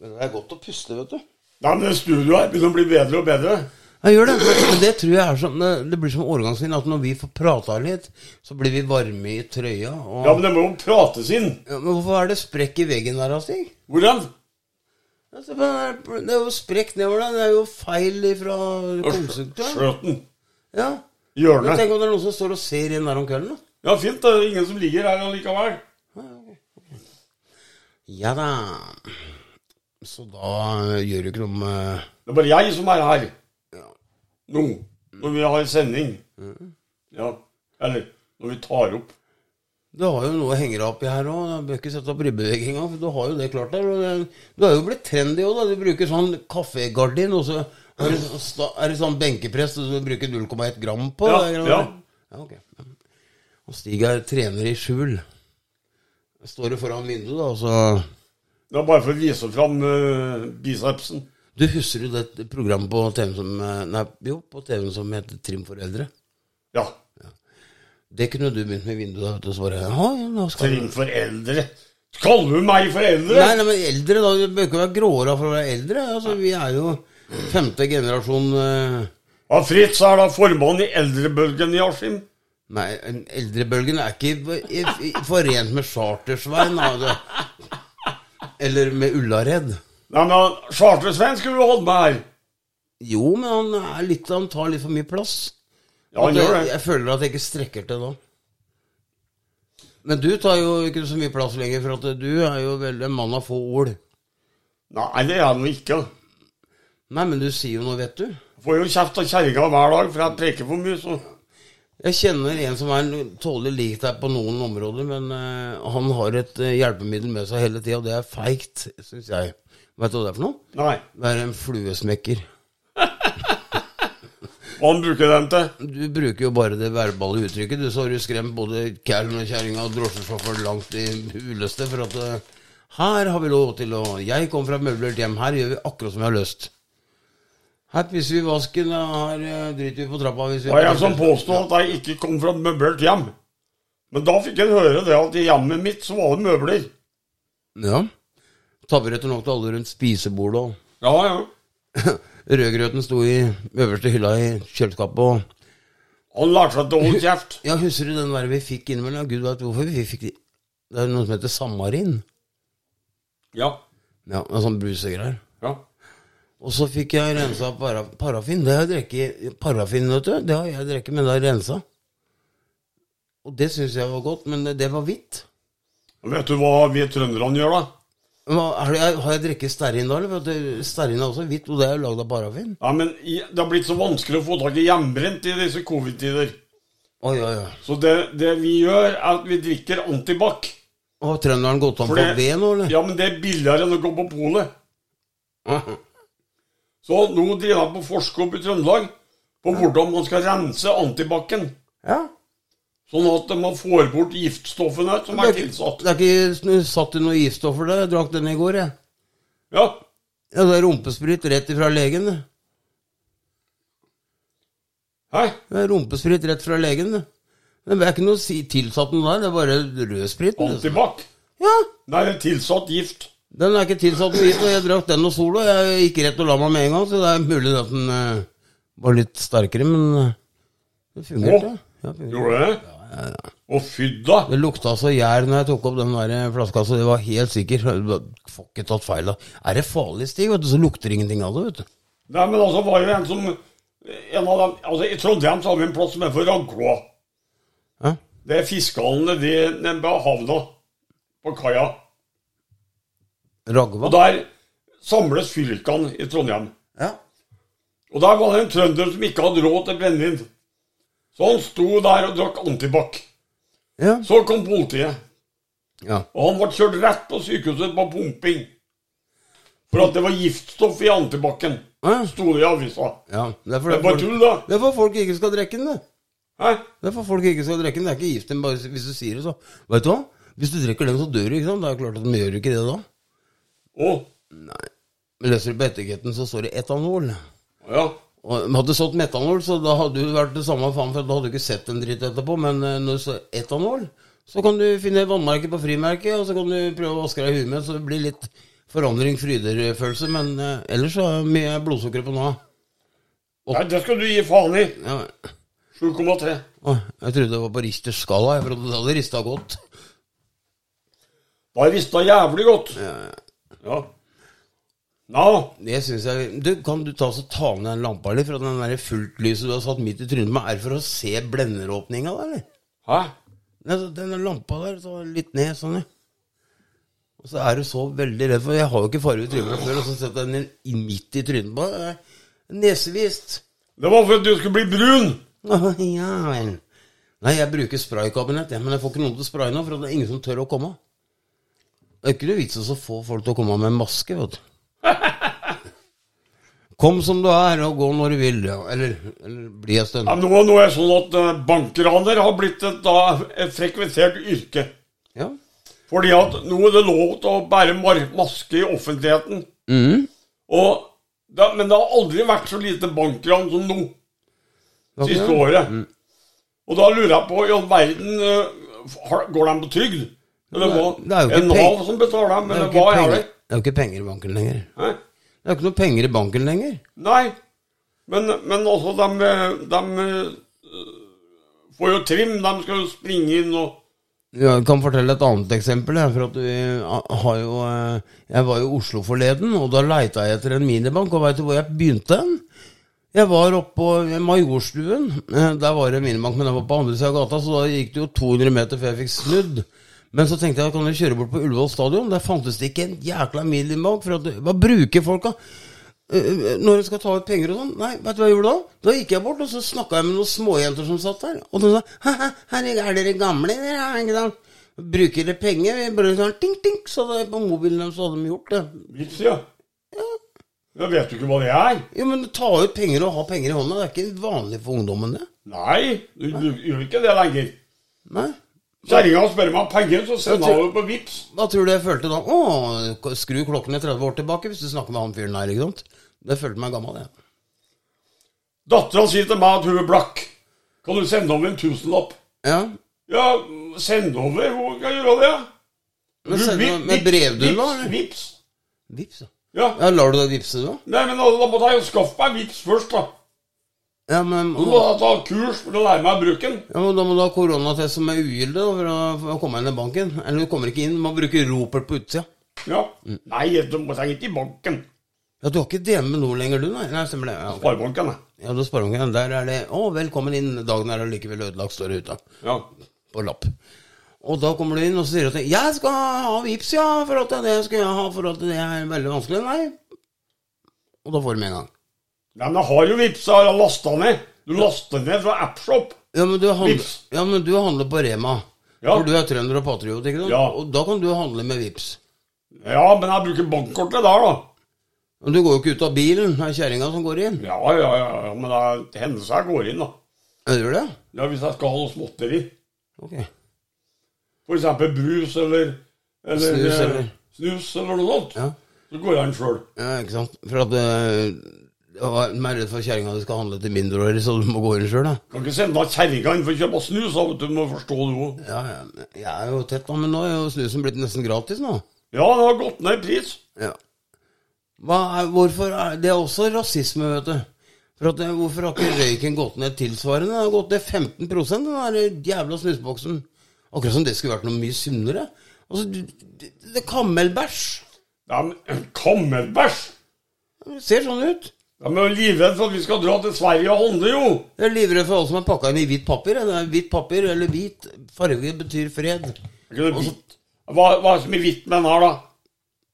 [SPEAKER 2] Men det er godt å puste, vet du.
[SPEAKER 1] Nei, men det studioet her begynner å bli bedre og bedre.
[SPEAKER 2] Jeg gjør det. Men det tror jeg er sånn Det, det blir som overgangsvin, at når vi får prata litt, så blir vi varme i trøya. Og,
[SPEAKER 1] Ja, men det må jo prates inn.
[SPEAKER 2] Ja, men hvorfor er det sprekk i veggen der, da, Stig?
[SPEAKER 1] Hvor hen?
[SPEAKER 2] Altså, Det er det er jo sprekk nedover der. Det er jo feil ifra konseptet.
[SPEAKER 1] Skjøten.
[SPEAKER 2] Ja. Men
[SPEAKER 1] Hjørnet.
[SPEAKER 2] tenk om det er noen som står og ser inn der om kvelden, da.
[SPEAKER 1] Ja, fint. Det er ingen som ligger her allikevel.
[SPEAKER 2] Ja da. Så da eh, gjør det ikke noe med
[SPEAKER 1] Det er bare jeg som er her. Nå. Når vi har sending. Ja. Eller når vi tar opp.
[SPEAKER 2] Du har jo noe å henge deg opp i her òg. Bør ikke sette opp ribbevegginga, for du har jo det klart der. Og det, du har jo blitt trendy òg, da. Du bruker sånn kaffegardin, og så er det, så sta- er det sånn benkepress og du bruker 0,1 gram på.
[SPEAKER 1] Ja,
[SPEAKER 2] det greiene
[SPEAKER 1] ja.
[SPEAKER 2] der. ja ok. Og Stig er trener i skjul. Står du foran vinduet, da, og så
[SPEAKER 1] Det er bare for å vise fram eh, bicepsen.
[SPEAKER 2] Du husker jo det programmet på TV som, eh, nei, jo, på TV som heter Trim for eldre?
[SPEAKER 1] Ja.
[SPEAKER 2] Det kunne du begynt med i vinduet. da, vet du, og så bare, ja, ja, nå skal du...
[SPEAKER 1] Trim for eldre. Kaller du meg for eldre?
[SPEAKER 2] Nei, nei, men eldre, da. Du bør ikke være gråhåra for å være eldre. Altså, vi er jo femte generasjon eh,
[SPEAKER 1] Ja, Fritz er da formann i eldrebølgen i Askim.
[SPEAKER 2] Nei, en- eldrebølgen er ikke i- i- i- forent med Chartersvein, da. det- Eller med Ullared.
[SPEAKER 1] Nei, men Charter-Svein skulle vi holdt med her.
[SPEAKER 2] Jo, men han, er litt, han tar litt for mye plass.
[SPEAKER 1] Ja, han
[SPEAKER 2] At jeg,
[SPEAKER 1] gjør det.
[SPEAKER 2] Jeg føler at jeg ikke strekker til da. Men du tar jo ikke så mye plass lenger, for at du er jo veldig en mann av få ord.
[SPEAKER 1] Nei, det er han jo ikke.
[SPEAKER 2] Nei, men du sier jo noe, vet du.
[SPEAKER 1] Får jo kjeft av kjerringa hver dag, for jeg preker for mye. så...
[SPEAKER 2] Jeg kjenner en som er tålelig lik deg på noen områder, men eh, han har et eh, hjelpemiddel med seg hele tida, og det er feigt, syns jeg. Veit du hva det er for noe?
[SPEAKER 1] Nei.
[SPEAKER 2] Det er en fluesmekker.
[SPEAKER 1] Hva han bruker den til?
[SPEAKER 2] Du bruker jo bare det verbale uttrykket. Du så har du skremt både kælen og kjerringa og drosjesjåføren langt i huleste for at eh, her har vi lov til å Jeg kom fra et møblert hjem. Her gjør vi akkurat som vi har lyst. Her pisser vi i vasken, og her eh, driter vi på trappa hvis vi
[SPEAKER 1] Det var jeg som påstod at jeg ikke kom fra et møblert hjem. Men da fikk jeg høre det at i hjemmet mitt så var det møbler.
[SPEAKER 2] Ja. Tabberetter nok til alle rundt spisebordet og
[SPEAKER 1] Ja, ja.
[SPEAKER 2] Rødgrøten sto i øverste hylla i kjøleskapet og
[SPEAKER 1] Han lærte seg til å holde kjeft.
[SPEAKER 2] Ja, husker du den der vi fikk innimellom? Ja, Gud veit hvorfor vi fikk de Det er noe som heter Samarin.
[SPEAKER 1] Ja.
[SPEAKER 2] Ja, en sånn brusegreier.
[SPEAKER 1] ja.
[SPEAKER 2] Og så fikk jeg rensa para, parafin. Det har jeg drukket Parafin, vet du. Det har jeg drukket, men det har jeg rensa. Og det syns jeg var godt, men det, det var hvitt.
[SPEAKER 1] Og vet du hva vi trønderne gjør, da?
[SPEAKER 2] Hva, er det, har jeg drukket stearin da, eller? For at det- Stearin er også hvitt, og det er jo lagd av parafin.
[SPEAKER 1] Ja, men i- Det har blitt så vanskelig å få tak i hjemmebrent i disse covid-tider.
[SPEAKER 2] Oi, oi, oi.
[SPEAKER 1] Så det, det vi gjør, er at vi drikker antibac.
[SPEAKER 2] Har trønderen gått om
[SPEAKER 1] For
[SPEAKER 2] på
[SPEAKER 1] det-
[SPEAKER 2] ved nå, eller?
[SPEAKER 1] Ja, men det er billigere enn å gå på polet. Så nå driver jeg på forskning oppe i Trøndelag på hvordan man skal rense antibac-en.
[SPEAKER 2] Ja.
[SPEAKER 1] Sånn at man får bort giftstoffene som
[SPEAKER 2] Det
[SPEAKER 1] er
[SPEAKER 2] er, ikke,
[SPEAKER 1] tilsatt.
[SPEAKER 2] det er ikke sn- satt i noe giftstoffer der. Jeg drakk den i går, jeg.
[SPEAKER 1] Ja,
[SPEAKER 2] Ja, det er rumpesprit rett ifra legen, det.
[SPEAKER 1] Hæ?
[SPEAKER 2] Det er Rumpesprit rett fra legen. det. Men Det er ikke noe si- tilsatt noe der, det er bare rød sprit. det.
[SPEAKER 1] Antibac?
[SPEAKER 2] Ja,
[SPEAKER 1] Nei, det er tilsatt gift.
[SPEAKER 2] Den er ikke tilsatt noe gitt, og jeg drakk den og Solo. Jeg gikk rett og la meg med en gang, så det er mulig at den eh, var litt sterkere, men eh, det fungerte.
[SPEAKER 1] Å,
[SPEAKER 2] Ja, det fungerte.
[SPEAKER 1] Gjorde det? Å, fy da!
[SPEAKER 2] Det lukta så gjær når jeg tok opp den der flaska, så jeg var helt sikker. Jeg bare, Får ikke tatt feil av. Er det farlig, Stig, vet du, så lukter ingenting av det, vet du.
[SPEAKER 1] Nei, men altså, var jo en som en av dem, altså I Trondheim så har vi en plass som er for ragloa.
[SPEAKER 2] Ja.
[SPEAKER 1] Det er fiskehallen nede ved havna, på kaia.
[SPEAKER 2] Ragva?
[SPEAKER 1] Og der samles fylkene i Trondheim.
[SPEAKER 2] Ja.
[SPEAKER 1] Og der var det en trønder som ikke hadde råd til brennevin. Så han sto der og drakk antibac.
[SPEAKER 2] Ja.
[SPEAKER 1] Så kom politiet.
[SPEAKER 2] ja.
[SPEAKER 1] Og han ble kjørt rett på sykehuset på pumping. For at det var giftstoff i antibac-en,
[SPEAKER 2] ja.
[SPEAKER 1] sto det i avisa.
[SPEAKER 2] ja. Det er
[SPEAKER 1] Det er
[SPEAKER 2] fordi
[SPEAKER 1] bare
[SPEAKER 2] folk,
[SPEAKER 1] tull, da.
[SPEAKER 2] det er for folk ikke skal drikke den, det.
[SPEAKER 1] Hæ?
[SPEAKER 2] Det er for folk ikke skal drikke den. Det er ikke gift, men bare hvis du sier det, så Vet du hva? Hvis du drikker den, så dør du, ikke sant? Det er klart at de gjør ikke det da.
[SPEAKER 1] Å,
[SPEAKER 2] Nei. Men leser du på etiketten, så står det etanol.
[SPEAKER 1] ja.
[SPEAKER 2] Og men hadde det stått metanol, så da hadde du vært det samme faen, for da hadde du ikke sett en dritt etterpå. Men eh, når det står etanol, så kan du finne vannmerket på frimerket, og så kan du prøve å vaske deg i huet med, så det blir litt forandring, fryder-følelse. Men eh, ellers så er mye blodsukkeret på nå.
[SPEAKER 1] Nei, det skal du gi faen i.
[SPEAKER 2] Ja.
[SPEAKER 1] 7,3.
[SPEAKER 2] Å, Jeg trodde det var på Richters skala, jeg, for det hadde rista godt.
[SPEAKER 1] Da rista jævlig godt. Ja. Nå,
[SPEAKER 2] Det synes jeg Du, Kan du ta, så ta ned den lampa litt fra den der fultlyset du har satt midt i trynet på meg? Er det for å se blenderåpninga der, eller?
[SPEAKER 1] hæ?
[SPEAKER 2] Nei, så Denne lampa der, så litt ned sånn, ja. Og så er du så veldig redd, for jeg har jo ikke farge i trynet fra før, og så setter jeg den i- midt i trynet på deg. Nesevist.
[SPEAKER 1] Det var for at du skulle bli brun.
[SPEAKER 2] Å, Ja vel. Nei, jeg bruker spraykabinett, jeg, men jeg får ikke noen til å spraye nå, for det er ingen som tør å komme. Det er ikke noe vits i å få folk til å komme med en maske, vet du. Kom som du er, og gå når du vil. Ja. Eller, eller bli en stund.
[SPEAKER 1] Ja, nå, nå er det sånn at eh, bankraner har blitt et, da, et frekventert yrke.
[SPEAKER 2] Ja.
[SPEAKER 1] Fordi at nå er det lov til å bære mar- maske i offentligheten. Mm. Og det, men det har aldri vært så lite bankran som nå, siste året. Og da lurer jeg på, i all verden, eh, har- går de på trygd? Eller
[SPEAKER 2] Det er-
[SPEAKER 1] hva?
[SPEAKER 2] det er jo ikke
[SPEAKER 1] Nav
[SPEAKER 2] peng-
[SPEAKER 1] som betaler dem,
[SPEAKER 2] Det er jo
[SPEAKER 1] eller
[SPEAKER 2] ikke
[SPEAKER 1] hva er
[SPEAKER 2] penger-
[SPEAKER 1] det?
[SPEAKER 2] det er jo ikke penger i banken lenger.
[SPEAKER 1] Hæ?
[SPEAKER 2] Det er jo ikke noe penger i banken lenger.
[SPEAKER 1] Nei, men, men altså, de, de eh, får jo trim. De skal jo springe inn og
[SPEAKER 2] Jeg kan fortelle et annet eksempel. jeg, For at vi har jo, eh, jeg var jo i Oslo forleden, og da leita jeg etter en minibank. Og veit du hvor jeg begynte hen? Jeg var oppe på Majorstuen. Eh, Der var det en minibank, men den var på andre sida av gata, så da gikk det jo 200 meter før jeg fikk snudd. Men så tenkte jeg jeg kan jo kjøre bort på Ullevål stadion. Der fantes det ikke en jækla minibank. For at, hva bruker folk da? Eh, når du skal ta ut penger og sånn Nei, vet du hva jeg gjorde da? Da gikk jeg bort, og så snakka jeg med noen småjenter som satt der. Og de sa «Haha, her er dere gamle, dere her, ikke sant? Bruker dere penger? Vi bare sånn tink, tink, så det på mobilen deres så hadde de gjort det.
[SPEAKER 1] Vips, ja. Da vet du ikke hva det er.
[SPEAKER 2] Jo, men ta ut penger og ha penger i hånda, det er ikke vanlig for ungdommen, det.
[SPEAKER 1] Nei, du, du gjør ikke det lenger.
[SPEAKER 2] Nei.
[SPEAKER 1] Kjerringa spør meg om penger, så sender
[SPEAKER 2] Jeg
[SPEAKER 1] jeg
[SPEAKER 2] tror-
[SPEAKER 1] henne på vips.
[SPEAKER 2] Hva tror du jeg følte da? Å, skru klokken i 30 år tilbake hvis du snakker med han fyren her, ikke sant? Det følte meg gammel, jeg.
[SPEAKER 1] Dattera sier til meg at hun er blakk. Kan du sende over en tusenlapp?
[SPEAKER 2] Ja.
[SPEAKER 1] Ja, send over. Hvor kan jeg gjøre det?
[SPEAKER 2] Men
[SPEAKER 1] Du,
[SPEAKER 2] send
[SPEAKER 1] vip-
[SPEAKER 2] meg- med
[SPEAKER 1] vips,
[SPEAKER 2] brev du
[SPEAKER 1] vips,
[SPEAKER 2] la, eller?
[SPEAKER 1] Vips.
[SPEAKER 2] Vips, da.
[SPEAKER 1] Ja.
[SPEAKER 2] Ja, lar du deg vippse, du, da?
[SPEAKER 1] Nei, men da, da måtte jeg jo skaffe meg vips først, da.
[SPEAKER 2] Ja, men
[SPEAKER 1] Så måtte jeg ta kurs for å lære meg å bruke den.
[SPEAKER 2] Ja, men Da må du ha koronatest som er ugyldig da, for å for å komme inn i banken. Eller du kommer ikke inn, du må bruke ropert på utsida.
[SPEAKER 1] Ja. Nei, du må trenger ikke i banken.
[SPEAKER 2] Ja, Du har ikke DM nå lenger, du? Nei, nei stemmer det. Ja, ok.
[SPEAKER 1] Sparebanken, jeg.
[SPEAKER 2] ja du sparer ikke. Der er det 'Å, velkommen inn, dagen er allikevel ødelagt', står det ute
[SPEAKER 1] Ja.
[SPEAKER 2] på lapp. Og da kommer du inn og så sier du at 'jeg skal ha vips, ja, for at det skal jeg ha, for at det er veldig vanskelig'. Nei. Og da får du med en gang.
[SPEAKER 1] Nei, men jeg har jo vips, jeg har lasta ned. Du laster ned fra AppShop.
[SPEAKER 2] Ja, men du handler,
[SPEAKER 1] Vips.
[SPEAKER 2] ja, men du handler på Rema.
[SPEAKER 1] Ja.
[SPEAKER 2] For du er trønder og patriot, ikke sant?
[SPEAKER 1] Ja.
[SPEAKER 2] Og da kan du handle med vips.
[SPEAKER 1] Ja, men jeg bruker bankkortet der, da.
[SPEAKER 2] Men du går jo ikke ut av bilen, det er kjerringa som går inn.
[SPEAKER 1] Ja, ja, ja, ja, men det er hendelser jeg går inn, da.
[SPEAKER 2] Ja, Gjør du det?
[SPEAKER 1] Ja, Hvis jeg skal ha noe småtteri.
[SPEAKER 2] Ok.
[SPEAKER 1] F.eks. brus eller, eller
[SPEAKER 2] Snus,
[SPEAKER 1] eh,
[SPEAKER 2] eller-
[SPEAKER 1] snus eller noe sånt.
[SPEAKER 2] Ja.
[SPEAKER 1] Så går jeg inn sjøl.
[SPEAKER 2] ja, ikke sant? For at øh, jeg var mer redd for kjerringa du skal handle til mindreårige, så du må gå inn sjøl, da.
[SPEAKER 1] Kan ikke sende kjerringa inn for å kjøpe snus. da, vet Du Du må forstå det òg.
[SPEAKER 2] Ja, ja, men jeg er jo tett, da, men nå er jo snusen blitt nesten gratis nå.
[SPEAKER 1] Ja, det har gått ned i pris.
[SPEAKER 2] Ja. Hva er, hvorfor er Det er også rasisme, vet du. For at, øh, hvorfor har ikke røyken gått ned tilsvarende? Den har gått ned 15 den der jævla snusboksen. Akkurat som det skulle vært noe mye sunnere. Altså, du- det, det er kamelbæsj.
[SPEAKER 1] Ja, men Kammerbæsj!
[SPEAKER 2] Det ser sånn ut.
[SPEAKER 1] De er jo livredde for at vi skal dra til Sverige og handle, jo!
[SPEAKER 2] Jeg er livredd for alle som er pakka inn i hvitt papir. jeg. Det er Hvitt papir eller hvit farge betyr fred.
[SPEAKER 1] Er ikke det
[SPEAKER 2] Og så-
[SPEAKER 1] hvitt? Hva, hva er det som er hvitt med den her, da?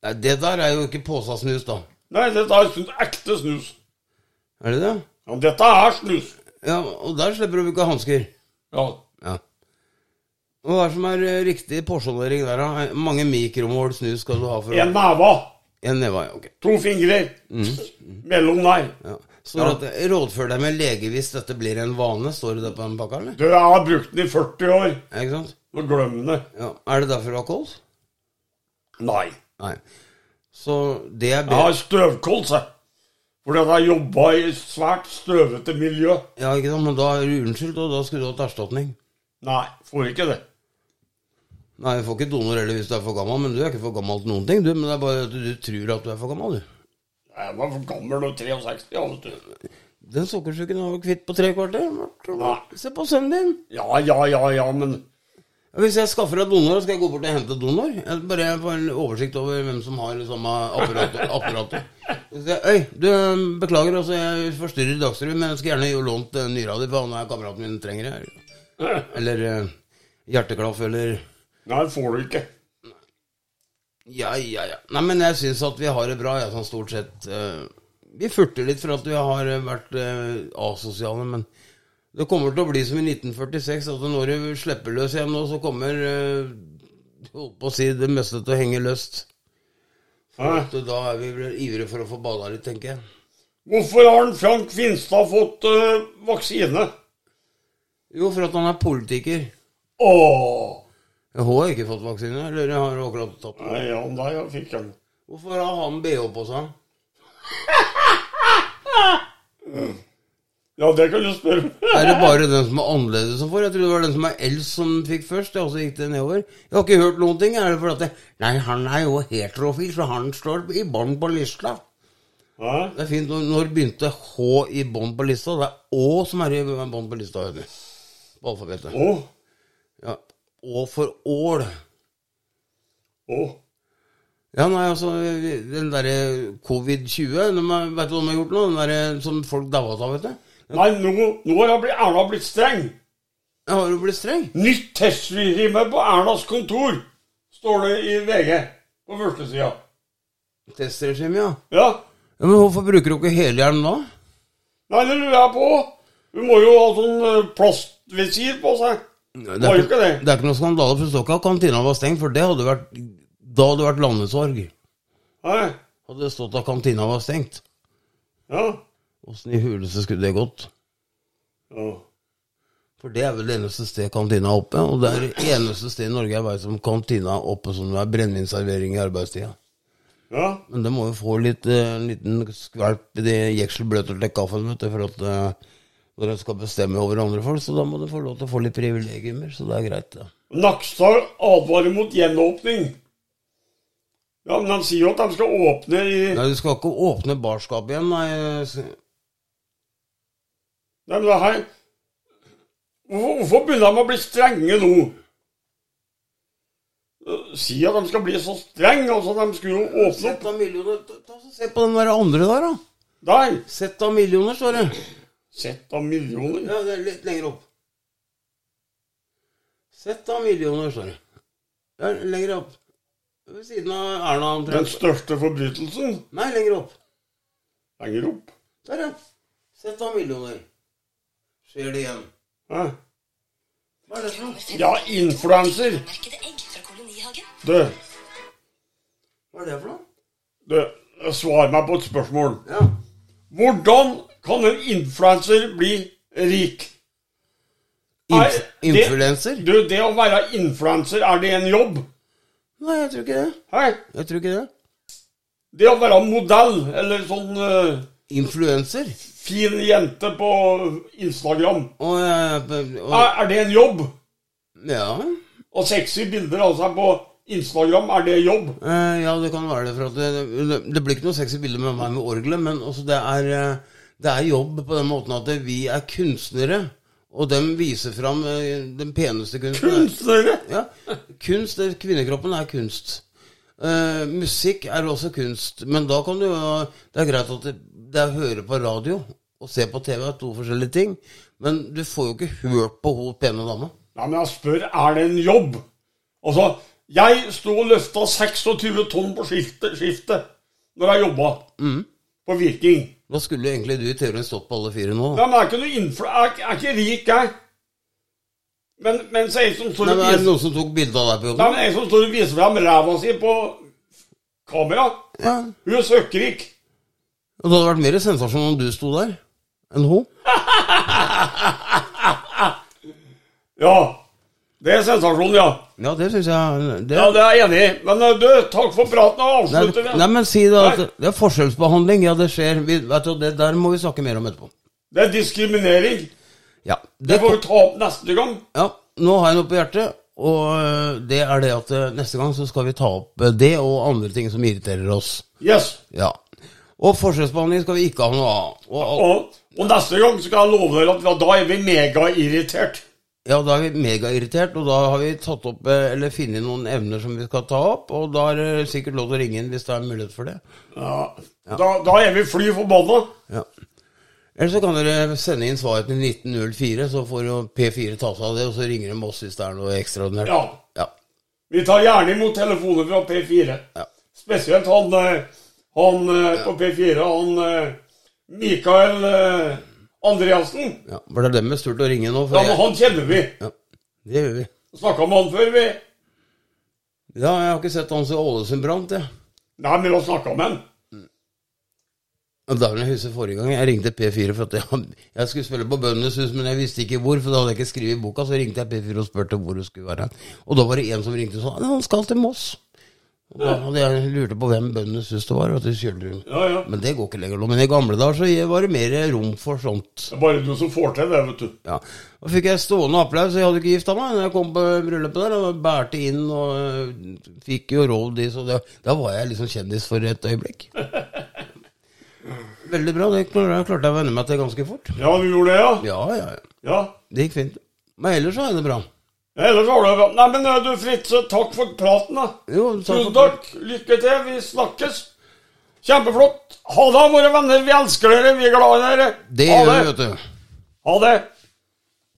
[SPEAKER 2] Nei, det der er jo ikke påsasnus, da.
[SPEAKER 1] Nei, dette er sn- ekte snus.
[SPEAKER 2] Er det det?
[SPEAKER 1] Ja, dette er snus.
[SPEAKER 2] Ja, og der slipper du ikke hansker.
[SPEAKER 1] Ja.
[SPEAKER 2] Ja. Og hva er det som er eh, riktig porsjonering der, da? Hvor mange mikromål snus skal du ha for
[SPEAKER 1] En neve.
[SPEAKER 2] En neve? ja, Ok.
[SPEAKER 1] To fingre.
[SPEAKER 2] Mm.
[SPEAKER 1] Mellom der.
[SPEAKER 2] Ja. Står det at eh, rådfør deg med lege hvis dette blir en vane? Står det det på den pakka, eller?
[SPEAKER 1] Du, jeg har brukt den i 40 år.
[SPEAKER 2] Ja, ikke sant?
[SPEAKER 1] Nå glem det.
[SPEAKER 2] Ja. Er det derfor du har kols?
[SPEAKER 1] Nei.
[SPEAKER 2] Nei. Så det er
[SPEAKER 1] Jeg
[SPEAKER 2] bedre.
[SPEAKER 1] har støvkols, jeg. Fordi at jeg jobba i svært støvete miljø.
[SPEAKER 2] Ja, ikke sant? Men da er du unnskyldt, og da skulle du hatt erstatning.
[SPEAKER 1] Nei, får ikke det.
[SPEAKER 2] Nei, du får ikke donor heller hvis du er for gammel, men du er ikke for gammel til noen ting, du. Men det er bare at du tror at du er for gammel, du.
[SPEAKER 1] Jeg var for gammel og 63, ja, vet du.
[SPEAKER 2] Den sukkersyken har du kvitt på tre kvarter.
[SPEAKER 1] Nei.
[SPEAKER 2] Se på sønnen din.
[SPEAKER 1] Ja, ja, ja, ja, men
[SPEAKER 2] Hvis jeg skaffer deg donor, skal jeg gå bort og hente donor? Jeg bare få en oversikt over hvem som har det samme apparatet. apparatet. Så sier jeg, Øy, du øhm, beklager, altså, jeg forstyrrer Dagsrevyen, men jeg skal gjerne gi lånt eh, nyra di, for han er kameraten min trenger det. Eller eh, hjerteklaff, eller
[SPEAKER 1] Nei, får du ikke.
[SPEAKER 2] Ja, ja, ja. Nei, men jeg syns at vi har det bra, jeg, sånn stort sett. eh, Vi furter litt for at vi har eh, vært eh, asosiale, men det kommer til å bli som i 1946, at når du slipper løs igjen nå, så kommer eh, holdt på å si det meste til å henge løst.
[SPEAKER 1] Hæ?
[SPEAKER 2] Så da er vi vel ivrige for å få bada litt, tenker jeg.
[SPEAKER 1] Hvorfor har han Frank Finstad fått eh, vaksine?
[SPEAKER 2] Jo, for at han er politiker.
[SPEAKER 1] Åh!
[SPEAKER 2] Jeg har ikke fått vaksine, eller jeg har akkurat tatt den.
[SPEAKER 1] Nei, ja, nei, jeg fikk den.
[SPEAKER 2] Hvorfor har han BH på seg?
[SPEAKER 1] Ja, det kan du spørre.
[SPEAKER 2] Er det bare den som er annerledes som får? Jeg trodde det var den som er eldst som fikk først, ja, og så gikk det nedover. Jeg har ikke hørt noen ting. Er det fordi at det, Nei, han er jo heterofil, så han står i bånn på lista.
[SPEAKER 1] Hæ?
[SPEAKER 2] Det er fint. Når, når begynte H i bånn på lista? Det er Å som er i bånn på lista. vet du. på alfabetet.
[SPEAKER 1] Å,
[SPEAKER 2] Ja. Å for ål.
[SPEAKER 1] å.
[SPEAKER 2] Ja, nei, altså, den derre covid-20, de har- vet du hva de har gjort nå? Den derre som folk daua av, vet du?
[SPEAKER 1] Nei, nå, nå har jeg blitt, Erna blitt streng.
[SPEAKER 2] Jeg har jo blitt streng.
[SPEAKER 1] Nytt testregime på Ernas kontor, står det i VG på førstesida.
[SPEAKER 2] Testregime, ja.
[SPEAKER 1] Ja.
[SPEAKER 2] ja. Men hvorfor bruker du ikke helhjelm da?
[SPEAKER 1] Nei, det lurer jeg på. Hun må jo ha sånn eh, plastvisir på seg.
[SPEAKER 2] Det
[SPEAKER 1] Må
[SPEAKER 2] er,
[SPEAKER 1] jo ikke det.
[SPEAKER 2] det er ikke noen skandale, for det står ikke at kantina var stengt, for det hadde vært, da hadde det vært landesorg.
[SPEAKER 1] Nei.
[SPEAKER 2] Hadde det stått at kantina var stengt.
[SPEAKER 1] Ja.
[SPEAKER 2] Åssen i huleste skulle det gått?
[SPEAKER 1] ja.
[SPEAKER 2] For det er vel det eneste sted kantina er oppe, og det er det eneste sted i Norge jeg vet om kantina er oppe som det er brennevinservering i arbeidstida.
[SPEAKER 1] Ja.
[SPEAKER 2] Men det må jo få litt, eh, en liten skvalp i de jekselbløter til kaffen, vet du, for at eh, når en skal bestemme over andre folk, så da må du få lov til å få litt privilegier, så det er greit, det.
[SPEAKER 1] Nakstad advarer mot gjenåpning. Ja, men han sier jo at de skal åpne i Nei,
[SPEAKER 2] Nei, du skal ikke åpne barskapet igjen, nei. s-
[SPEAKER 1] men det her Hvorfor, hvorfor begynner de å bli strenge nå? Eh, Si at de skal bli så strenge, altså. De skulle jo åpne
[SPEAKER 2] Sett
[SPEAKER 1] opp
[SPEAKER 2] av millioner, ta, ta, så se på den der andre der, da.
[SPEAKER 1] der.
[SPEAKER 2] Sett av millioner, står det.
[SPEAKER 1] Sett av millioner.
[SPEAKER 2] Ja, det er litt lenger opp. Sett av millioner, står det. Ja, lenger opp. Ved siden av Erna
[SPEAKER 1] Den
[SPEAKER 2] omtrent.
[SPEAKER 1] største forbrytelsen
[SPEAKER 2] Nei, lenger opp.
[SPEAKER 1] lenger opp.
[SPEAKER 2] Der, ja. Sett av millioner. Skjer det igjen.
[SPEAKER 1] Hæ?
[SPEAKER 2] Hva er det for noe?
[SPEAKER 1] Ja, influenser.
[SPEAKER 5] Merkede egg fra kolonihagen.
[SPEAKER 1] Du,
[SPEAKER 2] Hva er det for noe?
[SPEAKER 1] du, svar meg på et spørsmål.
[SPEAKER 2] Ja.
[SPEAKER 1] Hvordan kan en influenser bli rik? Nei,
[SPEAKER 2] Inf
[SPEAKER 1] det-
[SPEAKER 2] Influenser?
[SPEAKER 1] Du, det å være influenser, er det en jobb?
[SPEAKER 2] Nei, jeg tror ikke det.
[SPEAKER 1] Hei?
[SPEAKER 2] Jeg tror ikke det.
[SPEAKER 1] Det å være modell, eller sånn eh,
[SPEAKER 2] Influenser?
[SPEAKER 1] fin jente på Instagram,
[SPEAKER 2] Og, jeg- og,
[SPEAKER 1] er, er det en jobb?
[SPEAKER 2] ja.
[SPEAKER 1] Og sexy bilder av seg på Instagram, er det jobb?
[SPEAKER 2] Eh, ja, det kan være det. For at det, det, det blir ikke noe sexy bilde med meg med orgelet, men også det, er, eh, det er jobb på den måten at vi er kunstnere, og dem viser fram eh, den peneste kunsten.
[SPEAKER 1] Kunstnere!
[SPEAKER 2] Ja, kunst, det- Kvinnekroppen er kunst. Eh, musikk er også kunst, men da kan du jo Det er greit at det, det er å høre på radio og se på TV er to forskjellige ting, men du får jo ikke hørt på hun pene dama.
[SPEAKER 1] Nei, men jeg spør, er det en jobb? Altså, jeg sto og løfta 26 tonn på skiftet, skiftet når jeg jobba
[SPEAKER 2] Mm.
[SPEAKER 1] på Viking.
[SPEAKER 2] Da skulle egentlig du i teorien stått på alle fire nå.
[SPEAKER 1] Nei, men jeg er ikke noe influ... Jeg er- jeg er ikke rik, jeg. Men, men så er det som står
[SPEAKER 2] Nei,
[SPEAKER 1] og
[SPEAKER 2] men Er det
[SPEAKER 1] viser
[SPEAKER 2] noen som tok bilde av deg på
[SPEAKER 1] Nei,
[SPEAKER 2] jobben?
[SPEAKER 1] men en som står og viser fram ræva si på kamera.
[SPEAKER 2] Ja.
[SPEAKER 1] Hun er søkkrik.
[SPEAKER 2] Og det hadde vært mer sensasjon om du sto der enn hun.
[SPEAKER 1] Ja. Det er sensasjon, ja.
[SPEAKER 2] Ja, det syns jeg det,
[SPEAKER 1] Ja, Det er jeg enig i. Men eh, du, takk for praten. og
[SPEAKER 2] nei,
[SPEAKER 1] Avslutter
[SPEAKER 2] nei,
[SPEAKER 1] vi.
[SPEAKER 2] men si da at
[SPEAKER 1] Nei.
[SPEAKER 2] det er forskjellsbehandling. Ja, det skjer. Vi, vet du, det der må vi snakke mer om etterpå.
[SPEAKER 1] Det er diskriminering.
[SPEAKER 2] Ja,
[SPEAKER 1] Det
[SPEAKER 2] det,
[SPEAKER 1] får vi ta opp neste gang.
[SPEAKER 2] ja, Nå har jeg noe på hjertet, og øh, det er det at øh, neste gang så skal vi ta opp øh, det og andre ting som irriterer oss.
[SPEAKER 1] Yes.
[SPEAKER 2] Ja. Og forskjellsbehandling skal vi ikke ha noe av. Og, alt-
[SPEAKER 1] Og, og neste gang skal jeg love dere at da- da er vi megairritert.
[SPEAKER 2] Ja, da er vi megairritert, og da har vi tatt opp, eh, eller funnet noen evner som vi skal ta opp, og da er det sikkert lov til å ringe inn hvis det er mulighet for det.
[SPEAKER 1] Ja. Da, da er vi fly forbanna.
[SPEAKER 2] Ja. Eller så kan dere sende inn svaret til 1904, så får jo P4 ta seg av det, og så ringer de oss hvis det er noe ekstraordinært.
[SPEAKER 1] Ja.
[SPEAKER 2] Ja.
[SPEAKER 1] Vi tar gjerne imot telefoner fra P4.
[SPEAKER 2] Ja.
[SPEAKER 1] Spesielt han, eh, han eh, på P4, han eh, Mikael eh, Andreassen.
[SPEAKER 2] ja. For det er dem med stort å ringe nå. For
[SPEAKER 1] Ja, men han kjenner vi.
[SPEAKER 2] ja. Det gjør vi.
[SPEAKER 1] Snakka med han før, vi.
[SPEAKER 2] Ja, jeg har ikke sett han som Ålesund brant, jeg.
[SPEAKER 1] Nei, men vi snakka med han.
[SPEAKER 2] Og Da vil jeg huske forrige gang jeg ringte P4 for at jeg, jeg skulle spille på Bøndenes hus, men jeg visste ikke hvor, for da hadde jeg ikke skrevet i boka. Så ringte jeg P4 og spurte hvor det skulle være. Og da var det en som ringte og sa «Nei, han skal til Moss. Og da hadde jeg lurte på hvem Bøndenes hus det var, og at det kjørte rundt.
[SPEAKER 1] Ja, ja.
[SPEAKER 2] Men det går ikke lenger nå. Men i gamle dager så var det mer rom for sånt.
[SPEAKER 1] Det er bare du som får til det, vet du.
[SPEAKER 2] Ja. Da fikk jeg stående applaus, jeg hadde ikke gifta meg da jeg kom på bryllupet der. Og bærte inn og øh, fikk jo råd de, så det, da var jeg liksom kjendis for et øyeblikk. Veldig bra. Det klarte, klarte jeg å venne meg til ganske fort.
[SPEAKER 1] Ja, du gjorde det, ja?
[SPEAKER 2] Ja, ja, ja.
[SPEAKER 1] Ja.
[SPEAKER 2] Det gikk fint. Men ellers så er det bra.
[SPEAKER 1] Ellers har det bra. Nei, men eh, du Fritze, takk for praten, da.
[SPEAKER 2] Jo, takk
[SPEAKER 1] Tusen
[SPEAKER 2] for-
[SPEAKER 1] takk. Lykke til. Vi snakkes. Kjempeflott. Ha det, våre venner. Vi elsker dere. Vi er glad i dere.
[SPEAKER 2] Det
[SPEAKER 1] ha
[SPEAKER 2] gjør vi,
[SPEAKER 1] det.
[SPEAKER 2] vet du.
[SPEAKER 1] Ha det.